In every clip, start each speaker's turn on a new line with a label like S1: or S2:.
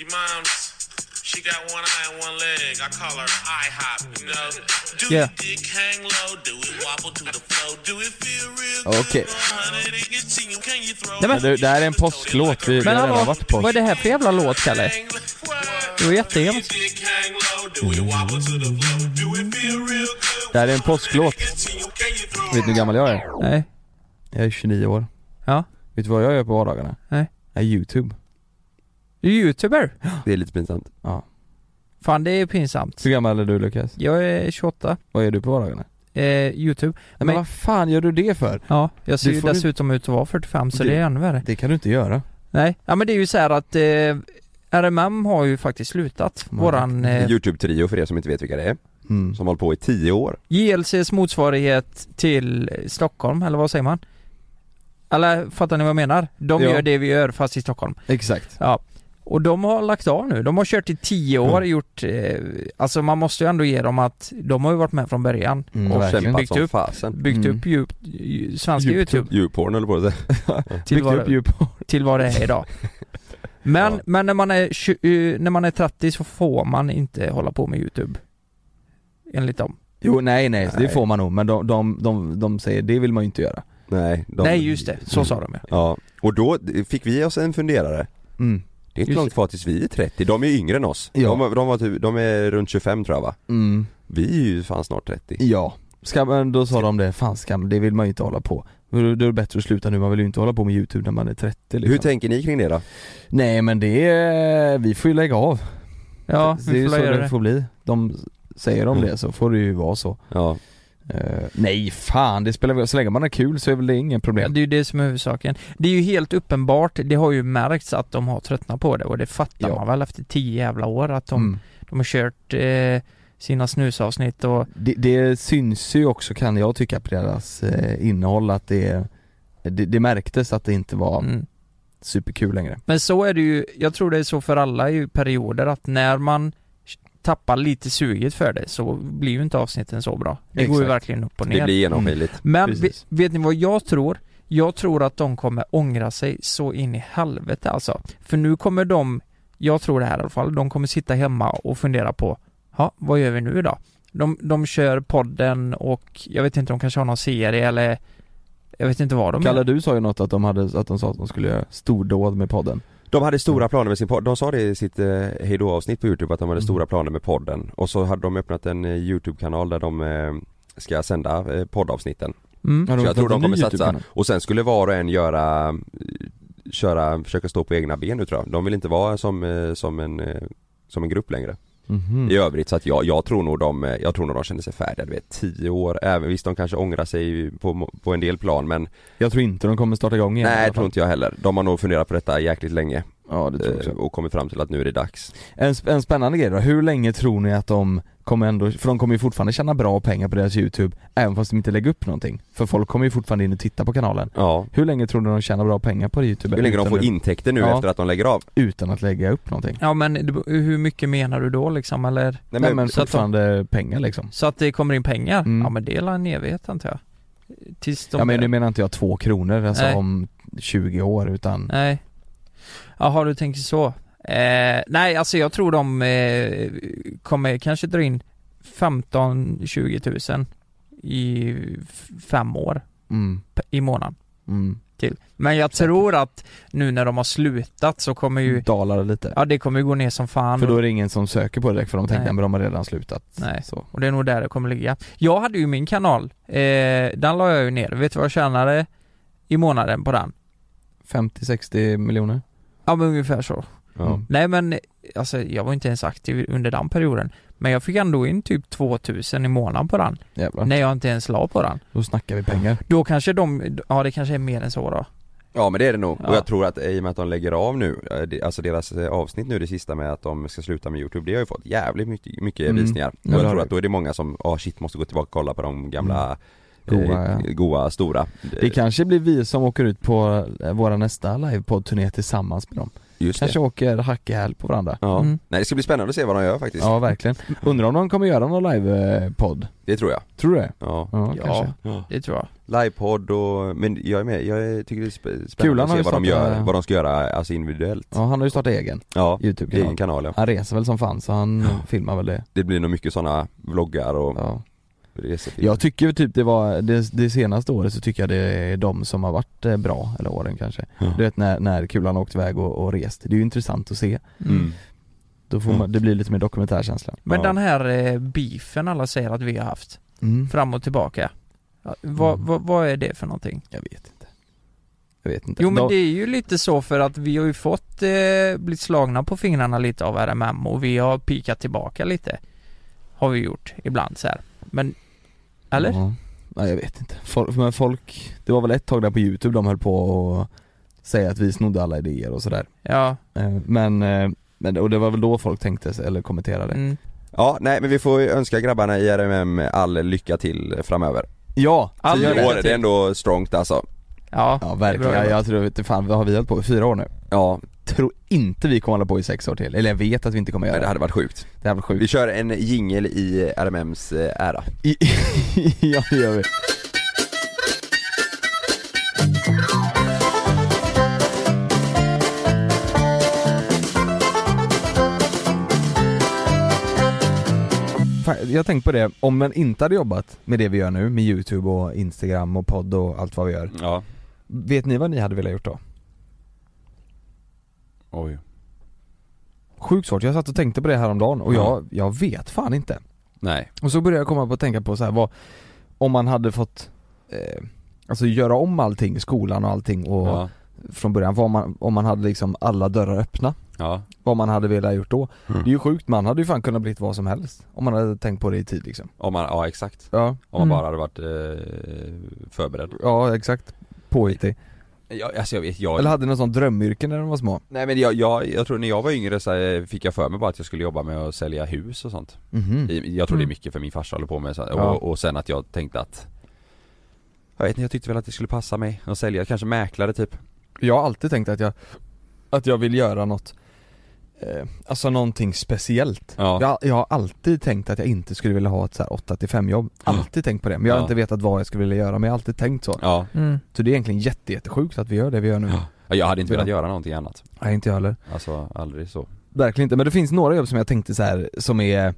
S1: Your mom's she got one eye and one leg. I call her IHOP, you know. Do
S2: Yeah.
S1: it dick hang low, do it wobble to the flow, do it feel real good.
S3: Okej.
S1: Honey, it gets in you, can you throw
S2: Nej, men-
S1: it?
S3: Det, det här är en påsklåt. Vi, vi
S2: Men
S3: har redan
S2: hallå,
S3: varit på
S2: vad är
S3: påsk.
S2: det här för jävla låt, Kalle?
S1: Hang low,
S2: Det var jättehemskt.
S1: dick hang low, do it wobble to the flow, do it feel real good.
S3: Det här är en påsklåt.
S1: Gets in you, can you throw
S3: Vet
S1: it?
S3: ni hur gammal jag är?
S2: Nej.
S3: Jag är 29 år.
S2: Ja.
S3: Vet du vad jag gör på vardagarna?
S2: Nej.
S3: Jag är youtube.
S2: Du är youtuber.
S3: Det är lite pinsamt. Ja.
S2: Fan, det är ju pinsamt.
S3: Hur gammal är du Lukas?
S2: Jag är 28.
S3: Vad gör du på vardagarna?
S2: Eh, Youtube.
S3: Men,
S2: Men-
S3: vad fan gör du det för?
S2: Ja, jag ser
S3: Du
S2: ju
S3: får ju-
S2: dessutom ut att vara 45 så
S3: Du-
S2: det är ännu värre.
S3: Det kan du inte göra.
S2: Nej, ja men det är ju så här att eh, RMM har ju faktiskt slutat.
S3: Nej.
S2: Våran eh,
S4: Youtube-trio för er som inte vet vilka det är,
S3: Mm.
S4: som har hållit på i tio år.
S2: JLCs motsvarighet till Stockholm, eller vad säger man? Eller fattar ni vad jag menar? De
S3: Ja.
S2: gör det vi gör fast i Stockholm.
S3: Exakt.
S2: Ja. Och de har lagt av nu. De har kört i tio år, gjort, eh, alltså man måste ju ändå ge dem att de har ju varit med från början.
S3: Mm,
S2: och
S3: verkligen.
S2: byggt
S4: Kämpat som
S2: upp,
S4: fasen.
S2: byggt
S3: Mm.
S2: upp djup, ju- svenska
S3: Djuptub.
S2: YouTube
S4: Djurporn eller på det.
S2: till
S3: Byggt upp
S2: vad,
S3: djup
S2: till vad det är idag. Men,
S4: Ja.
S2: men när, man är, tju- eh, när man är 30 så får man inte hålla på med YouTube. Enligt dem.
S3: Jo nej, nej det
S4: Nej.
S3: får man nog men de, de, de, de säger det vill man ju inte göra.
S4: Nej, de...
S2: Nej just det, så sa de ju.
S4: Ja, och då fick vi oss en funderare.
S3: Mm.
S4: Det är inte
S2: Just
S4: långt kvar tills vi är 30, de är ju yngre än oss.
S3: Ja.
S4: De, de, var typ, de är runt 25 tror jag va?
S3: Mm.
S4: Vi är ju fan snart 30.
S3: Ja. Ska, men då sa de det, fan skam, det vill man ju inte hålla på. Då då är det bättre att sluta nu, man vill ju inte hålla på med youtube när man är 30 liksom.
S4: Hur tänker ni kring det då?
S3: Nej men det, är- vi får ju lägga av.
S2: Ja,
S3: det är
S2: vi
S3: ju
S2: får
S3: så
S2: väl göra
S3: det
S2: det.
S3: får bli. De säger om det så får det ju vara så.
S4: Ja,
S3: Eh, nej fan, det spelar väl, så länge man har kul så är väl det inget
S2: Ja,
S3: problem.
S2: det är ju det som är huvudsaken. Det är ju helt uppenbart, det har ju märkts att de har tröttnat på det och det fattar
S3: Ja.
S2: man väl efter tio jävla år att de,
S3: Mm.
S2: de har kört eh, sina snusavsnitt och
S3: Det, det syns ju också kan jag tycka på deras eh, innehåll att det, det, det märktes att det inte var
S2: mm.
S3: superkul längre.
S2: Men så är det ju, jag tror det är så för alla i perioder att när man tappar lite suget för det så blir ju inte avsnitten så bra. Det går ju
S3: Exakt.
S2: verkligen upp och
S4: det
S2: ner.
S4: blir genomskinligt.
S2: Men
S3: precis.
S2: ve- vet ni vad jag tror? Jag tror att de kommer ångra sig så in i helvete alltså. För nu kommer de, jag tror det här i alla fall, de kommer sitta hemma och fundera på, ja, vad gör vi nu då? De, de kör podden och jag vet inte, de kanske har någon serie eller jag vet inte vad de
S3: Kalle
S2: gör.
S3: du sa ju något att de, hade, att de sa att de skulle göra stordåd med podden.
S4: De hade stora planer med sin podd, de sa det i sitt eh, hejdå-avsnitt på youtube att de hade
S3: Mm.
S4: stora planer med podden och så hade de öppnat en eh, youtube-kanal där de eh, ska sända eh, poddavsnitten.
S2: Mm.
S3: Ja,
S4: Så
S3: de
S4: jag tror de
S3: öppnat en
S4: kommer
S3: ny
S4: satsa,
S3: YouTube-kanal.
S4: och sen skulle var och en göra eh, Köra, försöka stå på egna ben nu tror jag. De vill inte vara som, eh, som en eh, som en grupp längre.
S3: Mhm.
S4: I övrigt så att jag, jag tror nog de, eh, jag tror nog de känner sig färdiga, du vet, 10 år, även visst de kanske ångrar sig på, må- på en del plan men
S3: Jag tror inte de kommer starta igång igen i
S4: nej
S3: alla
S4: jag tror
S3: fall.
S4: inte jag heller. De har nog funderat på detta jäkligt länge
S3: Ja det tror jag
S4: eh,
S3: också.
S4: och kommit fram till att nu är det dags.
S3: En, sp- en spännande grej då, hur länge tror ni att de kommer ändå, för de kommer ju fortfarande tjäna bra pengar på deras youtube även fast de inte lägger upp någonting. För folk kommer ju fortfarande in och titta på kanalen.
S4: Ja.
S3: Hur länge tror du de tjänar bra pengar på youtube?
S4: Hur länge de
S3: utan
S4: får
S3: att-
S4: intäkter nu
S3: Ja.
S4: efter att de lägger av?
S3: Utan att lägga upp någonting?
S2: Ja men det- hur mycket menar du då liksom eller?
S4: Nej,
S3: Nej men
S2: så att de-
S3: fortfarande pengar liksom.
S2: Så att det kommer in pengar?
S3: Mm.
S2: Ja men det är väl en evighet antar jag. Tills de...
S3: Ja men nu menar inte jag två kronor, alltså
S2: Nej.
S3: om 20 år utan
S2: Nej. Jaha, du tänker så. Eh, nej, alltså jag tror de eh, kommer kanske dra in 15-20 000 i f- fem år
S3: mm,
S2: p- i månaden.
S3: mm.
S2: Till. Men jag tror att nu när de har slutat så kommer
S1: Mm.
S2: ju,
S3: Mm.
S4: dalar det lite.
S2: ja det kommer ju gå ner som fan.
S4: För då är det ingen som söker på det direkt för de tänkte
S2: Nej.
S4: att de har redan slutat.
S2: Nej.
S4: Så.
S2: Och det är nog där det kommer ligga. Jag hade ju min kanal, eh, den la jag ju ner. Vet du vad jag tjänade i månaden på den?
S4: 50-60 miljoner.
S2: Ja men ungefär så.
S1: Ja.
S4: Mm.
S2: Nej men alltså jag var inte ens aktiv under den perioden. Men jag fick ändå in typ 2000 i månaden på den.
S4: Jävlar.
S2: När jag inte ens la på den.
S4: Då snackar vi pengar.
S2: Då kanske de, ja det kanske är mer än så då.
S1: Ja men det är det nog,
S2: Ja.
S1: och jag tror att i och med att de lägger av nu, eh, det- alltså deras eh, avsnitt nu det sista med att de ska sluta med Youtube, det har ju fått jävligt mycket, mycket
S4: Mm.
S1: visningar
S4: Ja,
S1: Och
S4: det
S1: jag
S4: har
S1: tror
S4: det.
S1: att då är det många som, ja shit måste gå tillbaka och kolla på de gamla
S3: Mm.
S4: Goa,
S1: eh,
S4: ja.
S1: goa stora
S4: Det kanske blir vi som åker ut på eh, våra nästa livepodd-turné tillsammans med dem.
S1: Just
S4: Kanske
S1: det
S4: åker hack i häl på varandra.
S1: Ja,
S2: Mm.
S1: nej det ska bli spännande att se vad de gör faktiskt,
S4: Ja, verkligen. Undrar om de kommer göra någon livepodd?
S1: det tror jag
S4: Tror du det?
S1: Ja,
S4: Ja,
S2: Ja.
S4: kanske.
S2: Det tror jag.
S1: livepodd och, men jag är med, jag tycker det är sp- spännande
S4: Kulan har
S1: att
S4: ju
S1: se vad de
S4: startat-
S1: gör, vad de ska göra, alltså individuellt
S4: Ja, han har ju startat egen
S1: Ja, egen
S4: YouTube-kanal.
S1: kanal ja.
S4: Han reser väl som fan så han filmar väl det.
S1: Det blir nog mycket sådana vloggar och
S4: Ja.
S1: resor till
S4: Jag tycker ju typ det var, det, det senaste året så tycker jag det är de som har varit eh, bra, eller åren kanske.
S1: Ja.
S4: Du vet när, när kulan har åkt iväg och, och rest, det är ju intressant att se.
S1: mm.
S4: Då får
S1: Ja.
S4: man, det blir lite mer dokumentärkänsla.
S2: Men
S1: Ja.
S2: den här eh, beefen alla säger att vi har haft,
S4: Mm.
S2: fram och tillbaka. Ja, vad,
S4: Mm.
S2: vad, vad är det för någonting?
S4: Jag vet inte. Jag vet inte.
S2: Jo men
S4: De-
S2: det är ju lite så för att vi har ju fått eh, blivit slagna på fingrarna lite av RMM och vi har pikat tillbaka lite. Har vi gjort ibland så här. Men, eller?
S4: Ja. Nej jag vet inte. Folk, men folk, det var väl ett tag där på youtube de höll på och säga att vi snodde alla idéer och sådär.
S2: Ja.
S4: Eh, Men, eh, men, och det var väl då folk tänkte, sig- eller kommenterade.
S2: Mm.
S1: Ja, nej men vi får ju önska grabbarna i RMM all lycka till framöver.
S4: Ja! så
S2: All
S4: gör
S1: Tio
S2: lycka
S1: år,
S2: till.
S1: det är ändå strongt alltså.
S2: Ja.
S4: Ja verkligen,
S2: Det är bra
S4: jag tror, inte fan vad har vi hållit på i? Fyra år nu?
S1: Ja,
S4: Tror inte vi kommer hålla på i sex år till, eller jag vet att vi inte kommer göra
S1: men det
S4: det.
S1: hade varit sjukt.
S4: Det här var
S1: Vi
S4: sjukt.
S1: kör en jingel i RMMs eh, ära.
S4: I- ja det gör vi. Fan, Jag har tänkt på det, om man inte hade jobbat med det vi gör nu, med youtube och instagram och podd och allt vad vi gör.
S1: Ja.
S4: Vet ni vad ni hade velat gjort då?
S1: Oj.
S4: Sjukt svårt, jag satt och tänkte på det här om dagen och jag, jag vet fan inte.
S1: Nej.
S4: Och så började jag komma på att tänka på så här, vad, om man hade fått eh, Alltså göra om allting, skolan och allting och
S1: Ja.
S4: från början, vad man, om man hade liksom alla dörrar öppna
S1: Ja.
S4: Vad man hade velat gjort då.
S1: Mm.
S4: Det är ju sjukt, man hade ju fan kunnat blivit vad som helst Om man hade tänkt på det i tid liksom
S1: Om man, ja exakt.
S4: Ja,
S1: Om man
S2: Mm.
S1: bara hade varit eh, förberedd.
S4: ja exakt Påhittig.
S1: Ja, alltså jag vet, jag...
S4: Eller hade någon sån drömyrke när de var små
S1: Nej men jag, jag, jag tror när jag var yngre så här, fick jag för mig bara att jag skulle jobba med att sälja hus och sånt.
S4: Mhm.
S1: I- Jag tror det är
S2: Mm.
S1: mycket för min farsa håller på med så, här.
S4: Ja.
S1: och, och sen att jag tänkte att Jag vet inte, jag tyckte väl att det skulle passa mig att sälja, kanske mäklare typ
S4: Jag har alltid tänkt att jag, att jag vill göra något eh, Alltså någonting speciellt
S1: Ja,
S4: Jag, jag har alltid tänkt att jag inte skulle vilja ha ett så här 8 till 5 jobb. Alltid tänkt på det, men jag har
S1: Ja.
S4: inte vetat vad jag skulle vilja göra men jag har alltid tänkt så.
S1: ja.
S2: Mm.
S4: Så det är egentligen jätte, jättesjukt att vi gör det vi gör nu.
S1: Ja. Jag hade inte velat
S4: Ja.
S1: göra någonting annat
S4: Nej inte jag heller.
S1: Alltså aldrig så
S4: Verkligen inte, men det finns några jobb som jag tänkte så här som är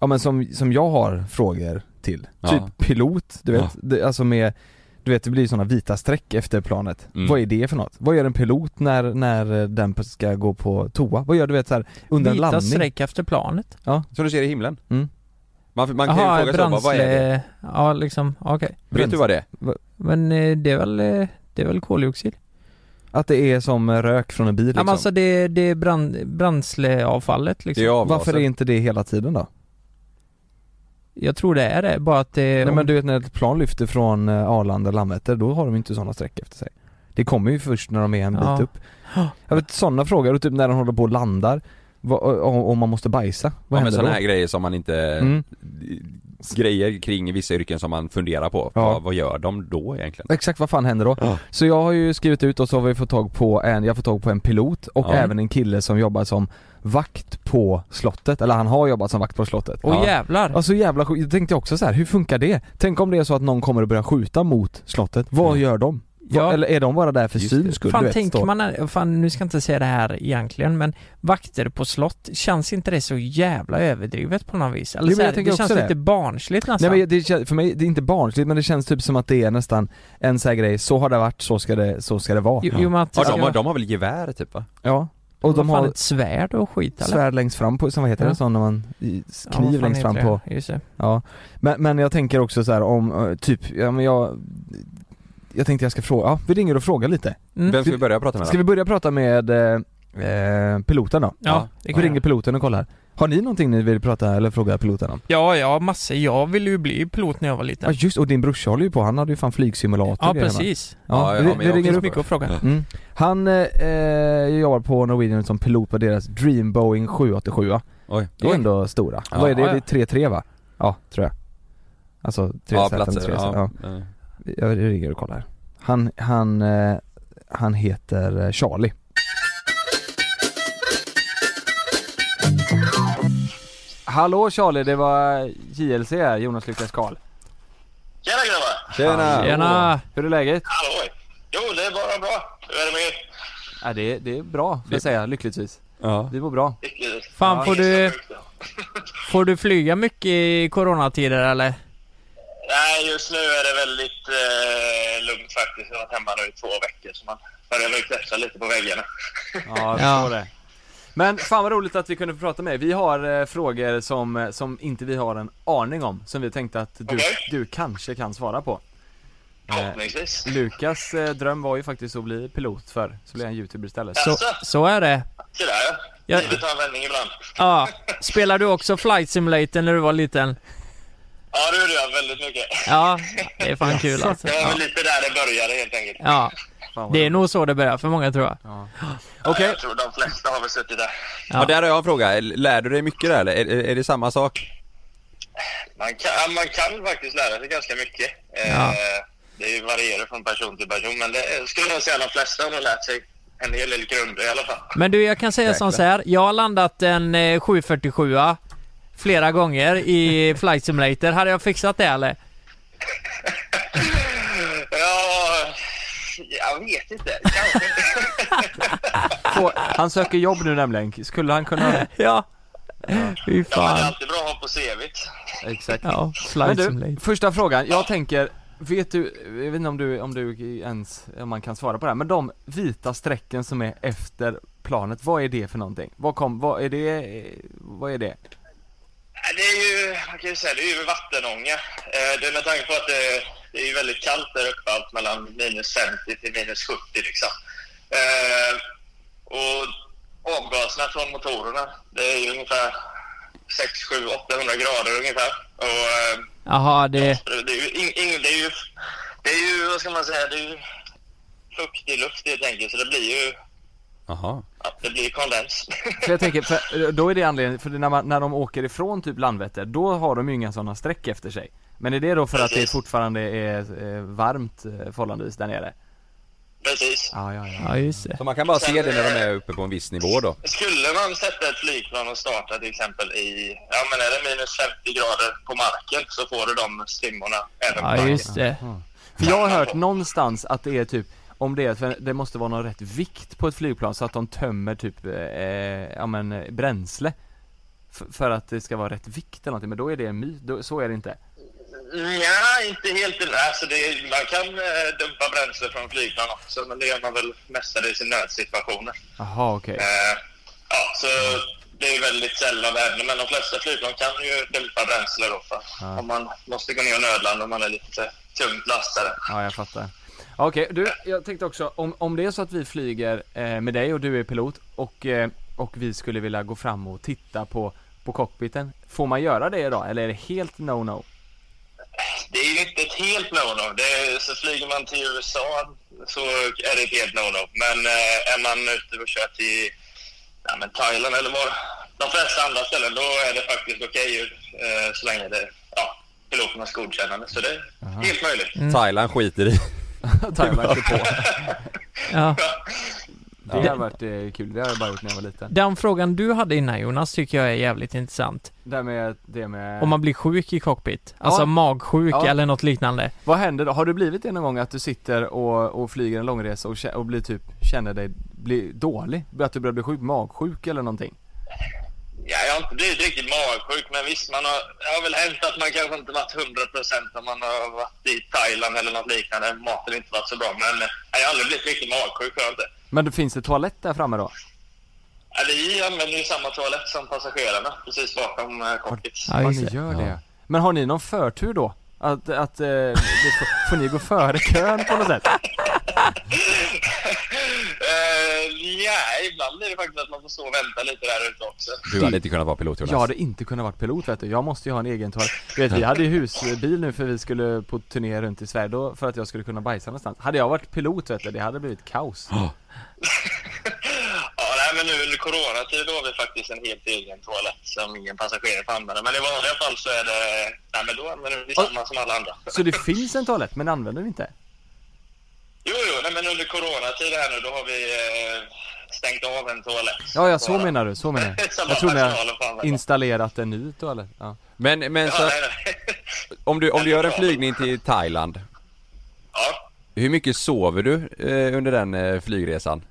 S4: Ja men som, som jag har frågor till.
S1: Ja.
S4: Typ pilot, du vet.
S1: Ja.
S4: Det, alltså med Du vet det blir sådana vita streck efter planet.
S1: Mm.
S4: Vad är det för något? Vad gör en pilot när, när den ska gå på toa? Vad gör du vet så här under en
S2: Vita
S4: landning?
S2: streck efter planet.
S1: Som du ser i himlen
S4: Mm.
S1: Man, man kan ju fråga sig bara, vad är det?
S2: Ja liksom, okej.
S1: Vet du vad det är?
S2: Men eh, det är väl, eh, det är väl koldioxid?
S4: Att det är som rök från en bil
S2: Ja
S4: liksom.
S2: men alltså det, det är brand, bränsleavfallet
S1: Det
S2: liksom.
S1: är avgaser
S4: Varför är inte det hela tiden då?
S2: Jag tror det är det, bara att det...
S4: Nej men du vet när ett plan lyfter från eh, Arlanda eller Landvetter, då har de inte sådana streck efter sig. Det kommer ju först när de är en bit
S2: Ja.
S4: upp. Jag vet sådana frågor, och typ när de håller på och landar, vad, och, och man måste bajsa, vad
S1: Ja men
S4: händer då?
S1: sådana här grejer som man inte
S4: Mm.
S1: Grejer kring vissa yrken som man funderar på,
S4: Ja.
S1: vad, vad gör de då egentligen?
S4: Exakt vad fan händer då?
S1: Ja.
S4: Så jag har ju skrivit ut och så har vi fått tag på en, jag har fått tag på en pilot och
S1: Ja.
S4: även en kille som jobbar som vakt på slottet, eller han har jobbat som vakt på slottet.
S2: Åh
S1: Ja.
S2: jävlar!
S4: Alltså jävla sjukt, jag tänkte också så här, hur funkar det? Tänk om det är så att någon kommer att börja skjuta mot slottet, vad
S1: Mm.
S4: gör de?
S2: Ja.
S4: Eller är de bara där för
S1: Just det.
S4: syns skull?
S2: Fan
S4: du vet,
S2: tänker
S4: så?
S2: man, fan nu ska jag inte säga det här egentligen men vakter på slott, känns inte det så jävla överdrivet på något vis? Eller
S4: Jo, men
S2: så här,
S4: jag tänker
S2: det känns
S4: också det.
S2: lite barnsligt
S4: Nej
S2: nästan.
S4: men det, kän- för mig, det är inte barnsligt men det känns typ som att det är nästan en sån här grej, så har det varit, så ska det, så ska det vara
S2: jo, jo, men att det
S1: Ja,
S2: ska,
S1: de, har, de har väl gevär typ va?
S4: Ja, och de har
S2: ett svärd och skit eller?
S4: svärd längst fram på, som vad heter
S2: Ja.
S4: det, sån när man, i- s-
S2: Ja, vad
S4: kniv
S2: fan
S4: längst fram
S2: heter
S4: på
S2: det? Just det.
S4: Ja, men, men jag tänker också så här om, eh, typ, ja men jag Jag tänkte jag ska fråga, ja vi ringer och frågar lite
S2: Mm.
S1: Vem ska vi börja prata med då?
S4: Ska vi börja prata med eh, eh, piloten då?
S2: Ja, det
S4: Vi
S2: kan
S4: ringer
S2: jag.
S4: piloten och kollar Har ni någonting ni vill prata eller fråga piloten om?
S2: Ja, ja, massor. Jag ville ju bli pilot när jag var
S4: Ja
S2: liten.
S4: just och din brorsa håller ju på, han hade ju fan flygsimulator
S2: Ja,
S4: och grejer, va?
S2: precis.
S4: Ja, vi,
S1: men
S4: vi
S1: jag-
S4: ringer
S2: finns
S4: upp
S2: mycket att fråga.
S1: Ja.
S4: Mm. Han eh, eh, jobbar på Norwegian som pilot på deras Dream Boeing 787 va?
S1: Oj,
S4: Det är ändå stora.
S1: Ja.
S4: Vad är det?
S2: Ja, ja.
S4: Det är 3-3 va? Ja, tror jag. Alltså 3
S1: Ja,
S4: Z,
S1: platser.
S4: 3 Z,
S1: Ja.
S4: ja. Jag ringer och kollar. Han, han, eh, han heter eh, Charlie. Hallå Charlie, det var eh, JLC här, Jonas Lukas Karl.
S5: Tjena grabbar!
S1: Tjena!
S2: Tjena!
S4: Hur är läget?
S5: Hallå! Jo, det är bara bra. Hur är det med er?
S4: Ja, det, det är bra, får jag säga, lyckligtvis.
S1: Ja.
S4: Vi mår bra.
S2: Fan, får du, får du flyga mycket i coronatider eller?
S5: Nej, just nu är det väldigt eh, lugnt faktiskt. Jag har varit hemma nu i två veckor så man börjar väl klättra lite på väggarna.
S4: Ja, jag
S2: Ja.
S4: förstår det. Men fan vad roligt att vi kunde få prata med er. Vi har eh, frågor som, eh, som inte vi har en aning om, som vi tänkte att du,
S5: Okej.
S4: du kanske kan svara på. Eh,
S5: Förhoppningsvis.
S4: Lukas eh, dröm var ju faktiskt att bli pilot för så blev han youtuber istället.
S2: Så, så är det.
S5: Se där ja.
S2: Ja.
S5: Livet tar en vändning ibland.
S2: Ja. Spelade du också Flight Simulator när du var liten?
S5: Ja, det gjorde jag väldigt mycket.
S2: Ja, det är fan kul alltså.
S5: Det var
S2: Ja.
S5: väl lite där det började helt enkelt.
S2: ja.
S4: Fan, vad
S2: Det är
S4: roligt.
S2: nog så det börjar för många tror jag.
S4: Okej,
S5: Jag tror de flesta har väl suttit där.
S1: Ja, där har jag en fråga. Lär du dig mycket där eller? Är, är- är det samma sak?
S5: Man kan, ja, man kan faktiskt lära sig ganska mycket. Eh,
S2: Ja.
S5: Det varierar från person till person, men det skulle jag säga de flesta har nog lärt sig Typ en hel del grunder i alla fall.
S2: Men du, jag kan säga som så här. Jag har landat en eh, 747 flera gånger i Flight Simulator. Hade jag fixat det eller?
S5: Ja, jag vet inte. Kanske inte.
S4: få- han söker jobb nu nämligen. Skulle han kunna...
S2: Ja. Fy
S5: Ja, men det är
S2: fan.
S5: alltid bra att ha på CVt.
S4: Exakt.
S2: Ja,
S4: Men
S2: Flight
S4: du,
S2: Simulator.
S4: första frågan. Jag tänker, vet du, jag vet inte om du, om du ens, om man kan svara på det här, men de vita strecken som är efter planet, vad är det för någonting? Vad kom, vad är det, vad är det?
S5: Ja, Det är ju, man kan ju säga, det är ju vattenånga. Eh, Det är med tanke på att det, det är ju väldigt kallt där uppe, allt mellan minus 50 till minus 70 liksom. Eh, Och avgaserna från motorerna, det är ju ungefär 6, 7, 800 grader ungefär. Och eh,
S2: Jaha, det...
S5: det är ju, in, in, det är ju, det är ju, vad ska man säga, det är ju fuktig luft helt enkelt, så det blir ju,
S1: Jaha.
S5: ja, det blir kondens.
S4: För jag tänker, för då är det anledningen, för när, man, när de åker ifrån typ Landvetter, då har de ju inga sådana streck efter sig. Men är det då för att det fortfarande är eh, varmt eh, förhållandevis där nere?
S5: Precis.
S4: Ja, ja, ja.
S2: Ja, just det.
S1: Så man kan bara se det när de är uppe på en viss nivå då?
S5: Skulle man sätta ett flygplan och starta till exempel i, ja men är det minus 50 grader på marken så får du de strimmorna även på
S2: Ja,
S5: marken.
S2: just det.
S4: För jag har hört någonstans att det är typ, om det är, för det måste vara någon rätt vikt på ett flygplan så att de tömmer typ, eh, ja men eh, bränsle. F- för att det ska vara rätt vikt eller någonting, men då är det en myt, då, så är det inte.
S5: Nja, inte helt. Alltså det, man kan eh, dumpa bränsle från flygplan också men det gör man väl mestadels i nödsituationer.
S4: Jaha okej.
S5: Eh, ja, så det är väldigt sällan det händer men de flesta flygplan kan ju dumpa bränsle då för om man måste gå ner och nödlanda om man är lite tungt lastade.
S4: Ja, jag fattar. Ja, Okej, du, jag tänkte också, om, om det är så att vi flyger eh, med dig och du är pilot och, eh, och vi skulle vilja gå fram och titta på, på cockpiten, får man göra det idag eller är det helt no-no?
S5: Det är ju inte ett helt no-no. Det är, så flyger man till USA så är det ett helt no-no. Men eh, är man ute och kör till ja, men Thailand eller var, de flesta andra ställen, då är det faktiskt okej eh, så länge det ja, piloternas godkännande. Så det är helt möjligt.
S1: Thailand skiter i.
S4: Thailand på.
S2: Ja.
S4: Det har varit eh, kul, det har jag bara gjort när jag var liten
S2: Den frågan du hade innan Jonas tycker jag är jävligt intressant.
S4: Där med, det med...
S2: Om man blir sjuk i cockpit, alltså
S4: Ja.
S2: magsjuk
S4: Ja.
S2: eller något liknande.
S4: Vad händer då? Har du blivit det någon gång att du sitter och, och flyger en långresa och, kä- och blir typ, känner dig bli dålig? Att du börjar bli sjuk, magsjuk eller någonting?
S6: Ja, jag har inte blivit riktigt magsjuk, men visst, man har, det har väl hänt att man kanske inte varit 100 procent om man har varit i Thailand eller något liknande. Maten har inte varit så bra, men eh, jag har aldrig blivit riktigt magsjuk. För inte.
S4: Men då finns det toalett där framme då?
S6: Ja, vi använder ju samma toalett som passagerarna, precis bakom eh, cockpit.
S4: Ja, ni gör det. Men har ni någon förtur då? Att, att eh, det, får- får ni gå före kön på något sätt?
S6: Eh, ja, ibland är det faktiskt att man får stå och vänta lite där ute också.
S1: Du hade inte kunnat vara pilot Jonas.
S4: Jag hade inte kunnat vara pilot vet du, jag måste ju ha en egen toalett. Du vet, vi hade ju husbil nu för vi skulle på turné runt i Sverige då, för att jag skulle kunna bajsa någonstans. Hade jag varit pilot vet du, det hade blivit kaos.
S6: Ja, nej, men nu under coronatid då har vi faktiskt en helt egen toalett som ingen passagerare får använda. Men i vanliga fall så är det... Nej, men då använder vi samma som alla andra.
S4: Så det finns en toalett, men använder vi inte?
S6: Jo, jo, nej, men under coronatid här nu då har vi eh, stängt av en toalett.
S4: Ja, ja så menar du, så menar jag.
S6: Samma
S4: Jag tror ni
S6: personal och fan
S4: har
S6: vad-
S4: installerat en ny toalett. Ja.
S1: Men, men så, om, du, om du gör en flygning till Thailand. Hur mycket sover du eh, under den eh, flygresan?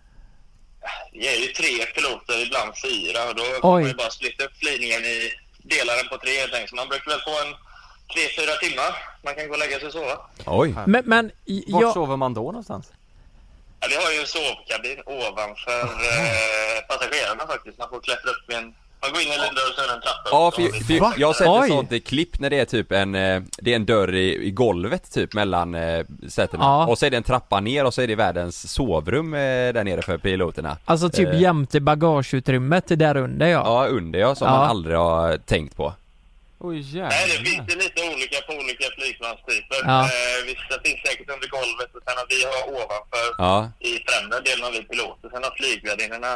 S6: Vi är ju tre piloter, ibland fyra. Och då får
S1: Oj.
S6: man ju bara splitta upp flygningen i... Dela den på tre helt enkelt. Så man brukar väl få en tre, fyra timmar. Man kan gå och lägga sig och sova.
S1: Oj.
S2: Men, men i-
S4: Vart
S2: jag...
S4: sover man då någonstans?
S6: Ja, vi har ju en sovkabin ovanför eh, passagerarna faktiskt. Man får klättra upp i en... Man går in i en liten dörr och så är det en trappa.
S1: Ja,
S6: upp.
S1: för,
S6: det-
S1: för jag har sett ett
S6: Oj.
S1: sånt eh, klipp när det är typ en, eh, det är en dörr i, i golvet typ mellan eh, sätena.
S2: Ja.
S1: Och så är det en trappa ner och så är det världens sovrum eh, där nere för piloterna.
S2: Alltså typ
S1: Eh,
S2: jämte bagageutrymmet där under ja.
S1: Ja, under ja, som
S2: Ja.
S1: man aldrig har tänkt på.
S4: Oj
S6: Nej, det finns ju lite olika på olika flygplanstyper.
S1: Ja.
S6: Eh, vissa finns säkert under golvet och sen har vi har ovanför
S1: Ja.
S6: i främre delen av vi piloter. Sen har flygvärdinnorna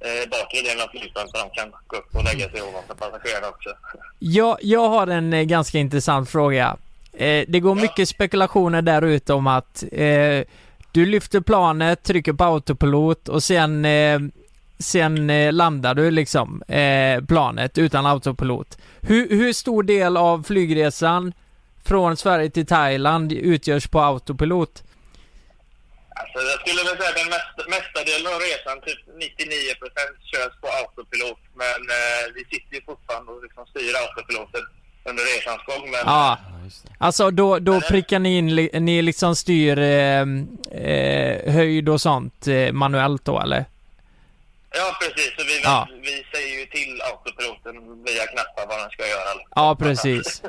S6: eh, bakre delen av flygplanet så de kan gå upp och lägga
S2: Mm.
S6: sig ovanför passagerarna också.
S2: Jag, jag har en eh, ganska intressant fråga. Eh, det går mycket spekulationer där ute om att eh, du lyfter planet, trycker på autopilot och sen, eh, sen eh, landar du liksom eh, planet utan autopilot. Hur, hur stor del av flygresan från Sverige till Thailand utgörs på autopilot?
S6: Alltså, jag skulle väl säga att den mesta, mesta delen av resan, typ 99 körs på autopilot. Men eh, vi sitter ju fortfarande och liksom styr autopiloten under resans gång. Men
S2: Ja. Alltså då, då prickar ni in, li- ni liksom styr eh, eh, höjd och sånt eh, manuellt då eller?
S6: Ja, precis. Så vi,
S2: Ja.
S6: vi säger ju till autopiloten via knappar vad den ska göra.
S2: Ja, precis.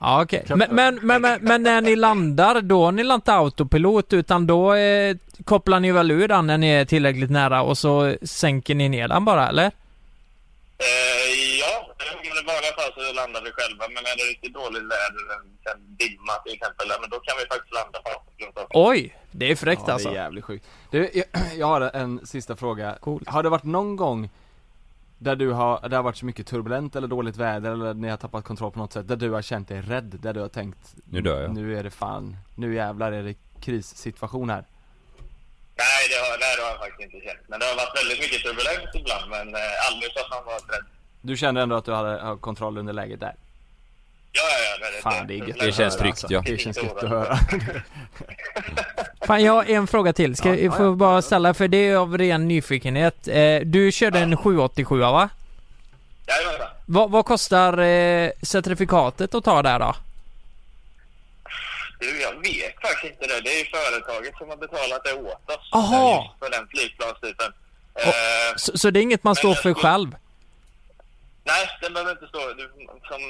S2: Ja, okej. Men, men, men, men, men när ni landar, då har ni landar inte autopilot utan då eh, kopplar ni väl ur den när ni är tillräckligt nära och så sänker ni ner den bara, eller?
S6: Eh, ja, men i vanliga fall så landar vi själva. Men är det riktigt dåligt väder, en dimma till exempel, ja, men då kan vi faktiskt landa på autopilot också.
S2: Oj! Det är fräckt
S4: ja,
S2: alltså.
S4: det är jävligt sjukt. Du, jag, jag har en sista fråga. Har det varit någon gång där du har, där det har varit så mycket turbulent eller dåligt väder eller ni har tappat kontroll på något sätt, där du har känt dig rädd, där du har tänkt
S1: Nu dör jag.
S4: Nu är det fan, nu jävlar är det krissituation här.
S6: Nej, det har, nej, det har jag faktiskt inte känt. Men det har varit väldigt mycket turbulens ibland, men eh, aldrig så att man varit rädd.
S4: Du kände ändå att du hade har kontroll under läget där?
S6: Ja, ja, ja. Men eh,
S4: Fan det är gött
S1: Det
S4: att
S1: känns
S4: höra,
S1: tryggt,
S4: alltså.
S1: ja.
S4: Det känns gött att höra.
S2: Fan, jag har en fråga till. Ska jag får bara ställa, för det är av ren nyfikenhet. Eh, du körde en 787 va?
S6: Jajamensan.
S2: Vad, vad kostar eh, certifikatet att ta där då?
S6: Du, jag vet faktiskt inte det. Det är ju företaget som har betalat det åt oss.
S2: Aha.
S6: eh, just För den flygplanstypen. Eh,
S2: Så, så det är inget man står för själv?
S6: Nej, den behöver inte stå. Du, som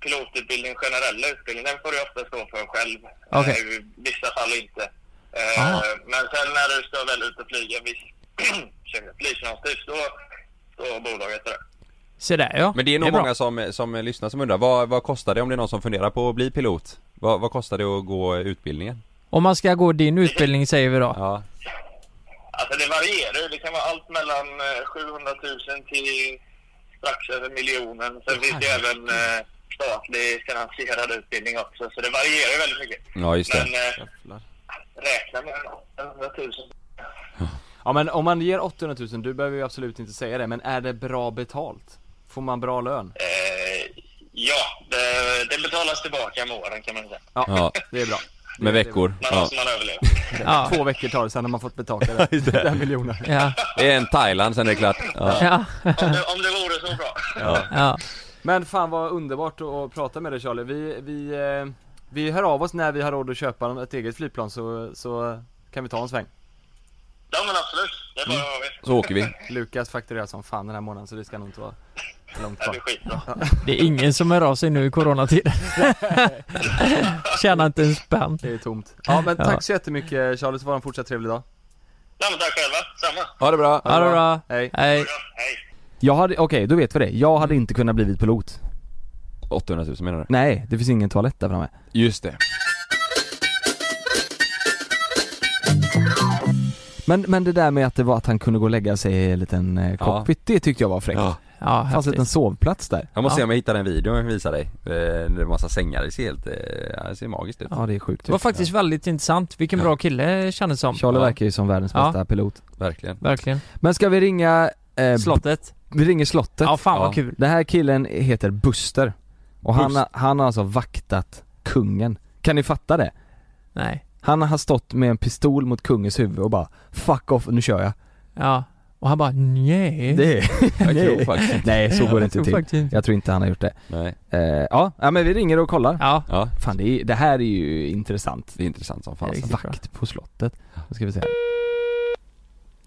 S6: pilotutbildning, generella utbildning, den får du ofta stå för själv.
S2: Okej.
S6: Eh, I vissa fall inte. Eh,
S2: Aha.
S6: men sen när du ska väl ut och flyga viss ursäkta, flygplanstyp, då står bolaget för det.
S2: Så där ja.
S1: Men det är nog
S2: bra.
S1: många som, som lyssnar som undrar, vad, vad kostar det om det är någon som funderar på att bli pilot? Vad, vad kostar det att gå utbildningen?
S2: Om man ska gå din utbildning säger vi då.
S1: Ja.
S6: Alltså det varierar ju. Det kan vara allt mellan eh, 700 000 till strax över miljonen. Sen finns det ju även eh, statlig finansierad utbildning också. Så det varierar ju väldigt mycket.
S1: Ja, just det.
S6: Men eh, räkna med 800 000.
S4: Ja men om man ger 800 000, du behöver ju absolut inte säga det, men är det bra betalt? Får man bra lön?
S6: Eh, ja, det, det betalas tillbaka med åren kan man säga.
S4: Ja, det är bra.
S1: Med veckor.
S6: Man,
S1: Ja.
S6: man överlever.
S2: Ja.
S4: Två veckor tar det, sen har man fått betalt den,
S1: Just det.
S4: den miljonen.
S2: Ja.
S1: Det är en Thailand sen är det klart. Ja.
S2: Ja.
S6: Om det, om det vore så bra.
S2: Ja.
S4: Men fan vad underbart att- att prata med dig Charlie. Vi, vi, eh, vi hör av oss när vi har råd att köpa ett eget flygplan så, så kan vi ta en sväng.
S6: Ja, men absolut. Det är bara
S2: Mm.
S6: att höra av er.
S1: Så åker vi.
S4: Lukas fakturerar som fan den här månaden så det ska nog inte vara långt
S6: Det
S4: kvar.
S6: blir skitbra.
S2: Det är ingen som hör av sig nu i coronatiden. Tjänar inte en spänn.
S4: Det är tomt. Ja men
S2: Ja.
S4: tack så jättemycket Charlie så var det en fortsatt trevlig dag.
S6: Nej, men tack själva. Samma.
S1: Ha det bra.
S2: Ha det bra.
S4: Hej.
S2: Hej.
S6: Ja, hej.
S4: Jag hade, okej då vet vi det. Jag hade inte kunnat blivit pilot.
S1: 800 000 menar du?
S4: Nej, det finns ingen toalett där framme.
S1: Just det.
S4: Men, men det där med att det var att han kunde gå och lägga sig i en liten eh,
S1: Ja.
S4: cockpit, det tyckte jag var fräckt.
S1: Ja.
S2: Ja,
S4: Det fanns en
S2: häftigt.
S4: liten sovplats där.
S1: Jag måste
S2: Ja.
S1: se om jag hittar en video jag visar dig. Eh, Det är en massa sängar, det ser helt, eh, ja, det ser magiskt ut.
S4: typ, Ja det är sjukt.
S2: Det var faktiskt väldigt intressant. Vilken bra kille kändes som.
S4: Charlie
S1: Ja.
S4: verkar ju som världens
S2: Ja.
S4: bästa pilot.
S1: Verkligen.
S2: Verkligen.
S4: Men ska vi ringa... Eh,
S2: Slottet.
S4: Vi ringer slottet.
S2: Ja, fan
S1: Ja.
S2: vad kul.
S4: Den här killen heter Buster. Och han,
S2: Buster.
S4: har- han har alltså vaktat kungen. Kan ni fatta det?
S2: Nej.
S4: Han har stått med en pistol mot kungens huvud och bara 'Fuck off, nu kör jag'
S2: Ja. Och han bara nej.
S4: Det är...
S1: Jag tror
S4: Nej.
S1: faktiskt inte.
S4: Nej, så går det inte
S2: Jag tror
S4: till.
S2: faktiskt inte.
S4: Jag tror inte han har gjort det.
S1: Nej.
S4: Eh, ja, ja, men vi ringer och kollar.
S2: Ja.
S1: Ja,
S4: Fan det, är, det här är ju intressant.
S1: det är intressant som fan.
S2: Det är riktigt bra.
S4: Vakt på slottet. Då ska vi se.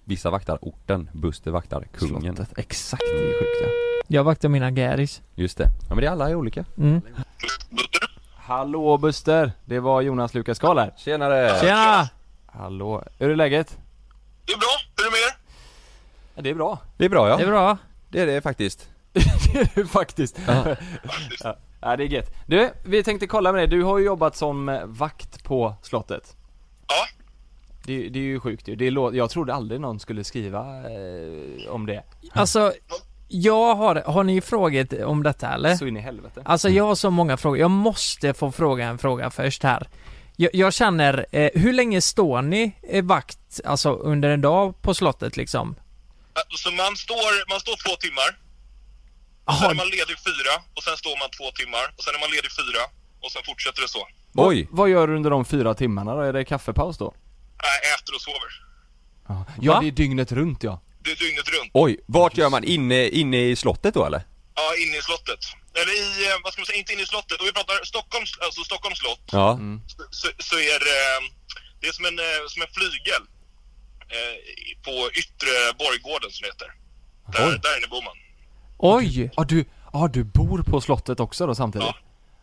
S1: Vissa vaktar orten, Buster vaktar kungen.
S4: Slottet. Exakt, det är sjukt ja.
S2: Jag vaktar mina gäris.
S1: Just det. Ja men det är alla är olika.
S2: Mm.
S4: Hallå Buster! Det var Jonas Lukas Karl här.
S1: Tjenare!
S2: Tjena!
S4: Hallå, hur är läget?
S6: Det är bra. Hur är det med er?
S4: Ja, det är bra.
S1: Det är bra ja.
S2: Det är bra.
S1: Det är det faktiskt.
S4: det är det faktiskt. Ja. ja, det är gött. Du, vi tänkte kolla med dig. Du har ju jobbat som eh, vakt på slottet.
S6: Ja.
S4: Det, det är ju sjukt ju. Det är, lå- jag trodde aldrig någon skulle skriva eh, om det.
S2: Alltså, jag har... Har ni frågat om detta eller?
S4: Så in i helvete.
S7: Mm.
S2: Alltså jag har så många frågor. Jag måste få fråga en fråga först här. Jag, jag känner, eh, hur länge står ni eh, vakt, alltså under en dag på slottet liksom?
S6: Så Alltså, man står, man står två timmar. Sen
S2: Jaha,
S6: är man ledig fyra och sen står man två timmar och sen är man ledig fyra och sen fortsätter det så.
S1: Oj!
S4: Vad gör du under de fyra timmarna då? Är det kaffepaus då?
S6: Äh, äter och sover.
S4: Ja, ja
S2: Va?
S4: det är dygnet runt ja.
S6: Det är dygnet runt.
S1: Oj! Vart gör man? Inne, inne i slottet då eller?
S6: Ja, inne i slottet. Eller i, eh, vad ska man säga, inte inne i slottet. Om vi pratar Stockholms, alltså Stockholms slott
S1: Ja.
S6: så, så- så är det, det är som en, eh, som en flygel eh, på yttre borggården som det heter. Där, där inne bor man.
S2: oj!
S4: Ja du, ja du bor på slottet också då samtidigt?
S6: Ja.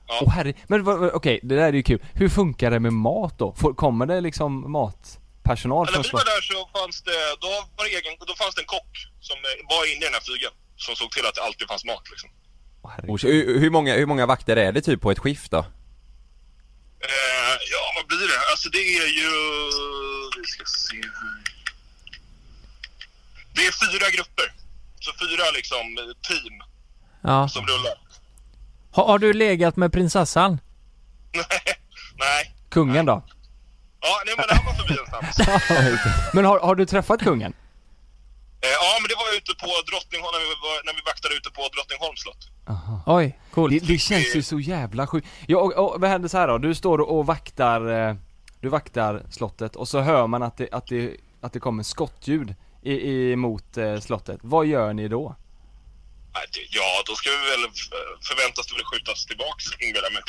S6: Ja.
S4: Åh herre, men vad- vad- okej det där är ju kul. Hur funkar det med mat då? Får, kommer det liksom matpersonal
S6: När
S4: från
S6: vi var
S4: slottet?
S6: där så fanns det, då var det, egen, då fanns det en kock som eh, var inne i den här flygeln. Som såg till att det alltid fanns mat liksom.
S4: Åh, herregud.
S1: Oj, Hur, hur, många, hur många vakter är det typ på ett skift då?
S6: Eh, ja, vad blir det? Alltså det är ju... Vi ska se här. Det är fyra grupper. Så fyra liksom eh, team
S2: Ja.
S6: som rullar.
S2: Har, har du legat med prinsessan?
S6: Nej.
S4: Kungen då?
S6: Ja, nej men han var förbi någonstans.
S4: Men har, har du träffat kungen?
S6: Eh, ja, men det var ute på Drottningholm, när vi, var, när vi vaktade ute på Drottningholms slott.
S2: Oj,
S4: Det,
S2: coolt.
S4: det känns ju så jävla sjukt. Ja, och, och, vad händer så här då? Du står och vaktar, eh, du vaktar slottet och så hör man att det, att det, att det kommer skottljud i, i, mot eh, slottet. Vad gör ni då?
S6: Nej, det- Ja, då ska vi väl f- förväntas det väl skjutas tillbaks, inbillar jag mig.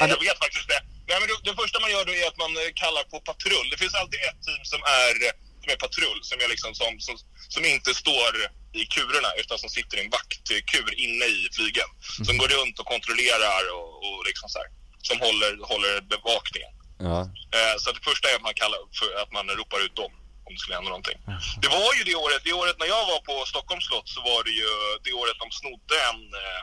S6: Nej, Jag vet faktiskt det. Nej, men det, det första man gör då är att man eh, kallar på patrull. Det finns alltid ett team som är, eh, som är patrull, som, är liksom, som, som, som inte står i kurerna utan som sitter i en vaktkur inne i flygen. Som går runt och kontrollerar och, och liksom så här, som håller, håller bevakningen.
S1: Ja.
S6: Eh, Så att det första är att man, kallar för att man ropar ut dem om det skulle hända någonting. Det var ju det året, det året när jag var på Stockholms slott så var det ju det året de snodde en, eh,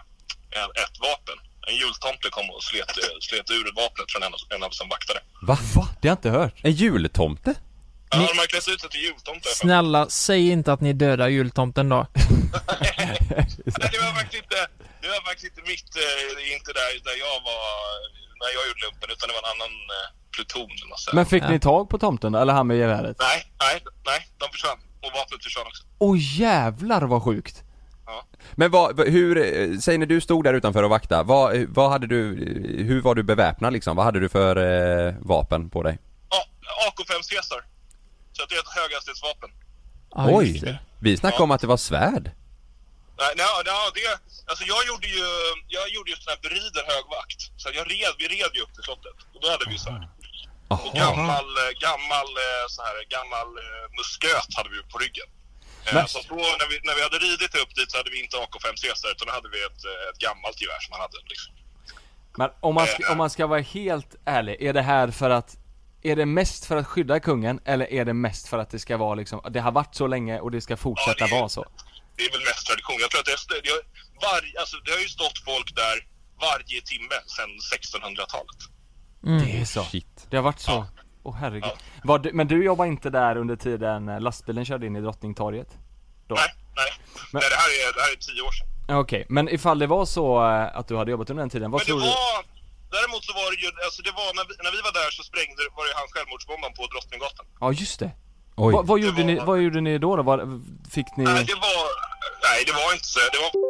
S6: en, ett vapen. En jultomte kom och slet, eh, slet ur vapnet från en, av- en av som vaktade.
S1: Va?
S4: Det har jag inte hört.
S1: En jultomte?
S6: Ja, de har klätt ut sig till jultomte.
S2: Snälla, säg inte att ni dödar jultomten då.
S6: Nej, det var faktiskt inte, det var faktiskt inte mitt, eh, inte där, där jag var när jag gjorde lumpen utan det var en annan eh, pluton. eller vad man säger.
S4: Men fick ni tag på tomten då? Eller han med geväret?
S6: Nej, nej, nej. De försvann. Och vapnet försvann också.
S4: Åh jävlar vad sjukt!
S1: Men vad, vad- hur, eh, säg när du stod där utanför och vaktade, vad, eh, vad hade du, eh, hur var du beväpnad liksom? Vad hade du för eh, vapen på dig?
S6: AK5 Caesar. Så att det är ett höghastighetsvapen.
S1: Oj! Vi snackade om att det var svärd.
S6: Nej, nej, nej, det... Alltså jag gjorde ju, jag gjorde ju sån här berider högvakt. Så jag red, vi red ju upp till slottet. Och då hade vi ju svärd. Och gammal, eh, gammal, eh, så här, gammal eh, musköt hade vi ju på ryggen. Eh,
S4: Men-
S6: Så att då, när, vi, när vi hade ridit upp dit så hade vi inte AK5 Caesar utan då hade vi ett, eh, ett gammalt gevär som han hade. Liksom.
S4: Men om man, ska, om man ska vara helt ärlig, är det här för att är det mest för att skydda kungen eller är det mest för att det ska vara liksom, det har varit så länge och det ska fortsätta vara så?
S6: Det är väl mest tradition. Jag tror att det, är- det, har- var, alltså, det har ju stått folk där varje timme sedan 1600-talet.
S4: Det är så. Det har varit så. Åh herregud. Var du, men du jobbar inte där under tiden eh, lastbilen körde in i Drottningtorget? Då? Nej,
S6: nej.
S4: Men,
S6: Nej, det, här är, det här är tio år sedan.
S4: Okej, men ifall det var så eh, att du hade jobbat under den tiden, vad
S6: Men det
S4: tror du?
S6: var, däremot så var det ju, alltså det var när vi, när vi var där så sprängde, var det ju han självmordsbombaren på Drottninggatan.
S4: Ja just det.
S1: Oj.
S4: Vad, vad, gjorde ni, vad gjorde ni då? då? Vad, fick ni?
S6: Nej, det var, nej det var inte så, det var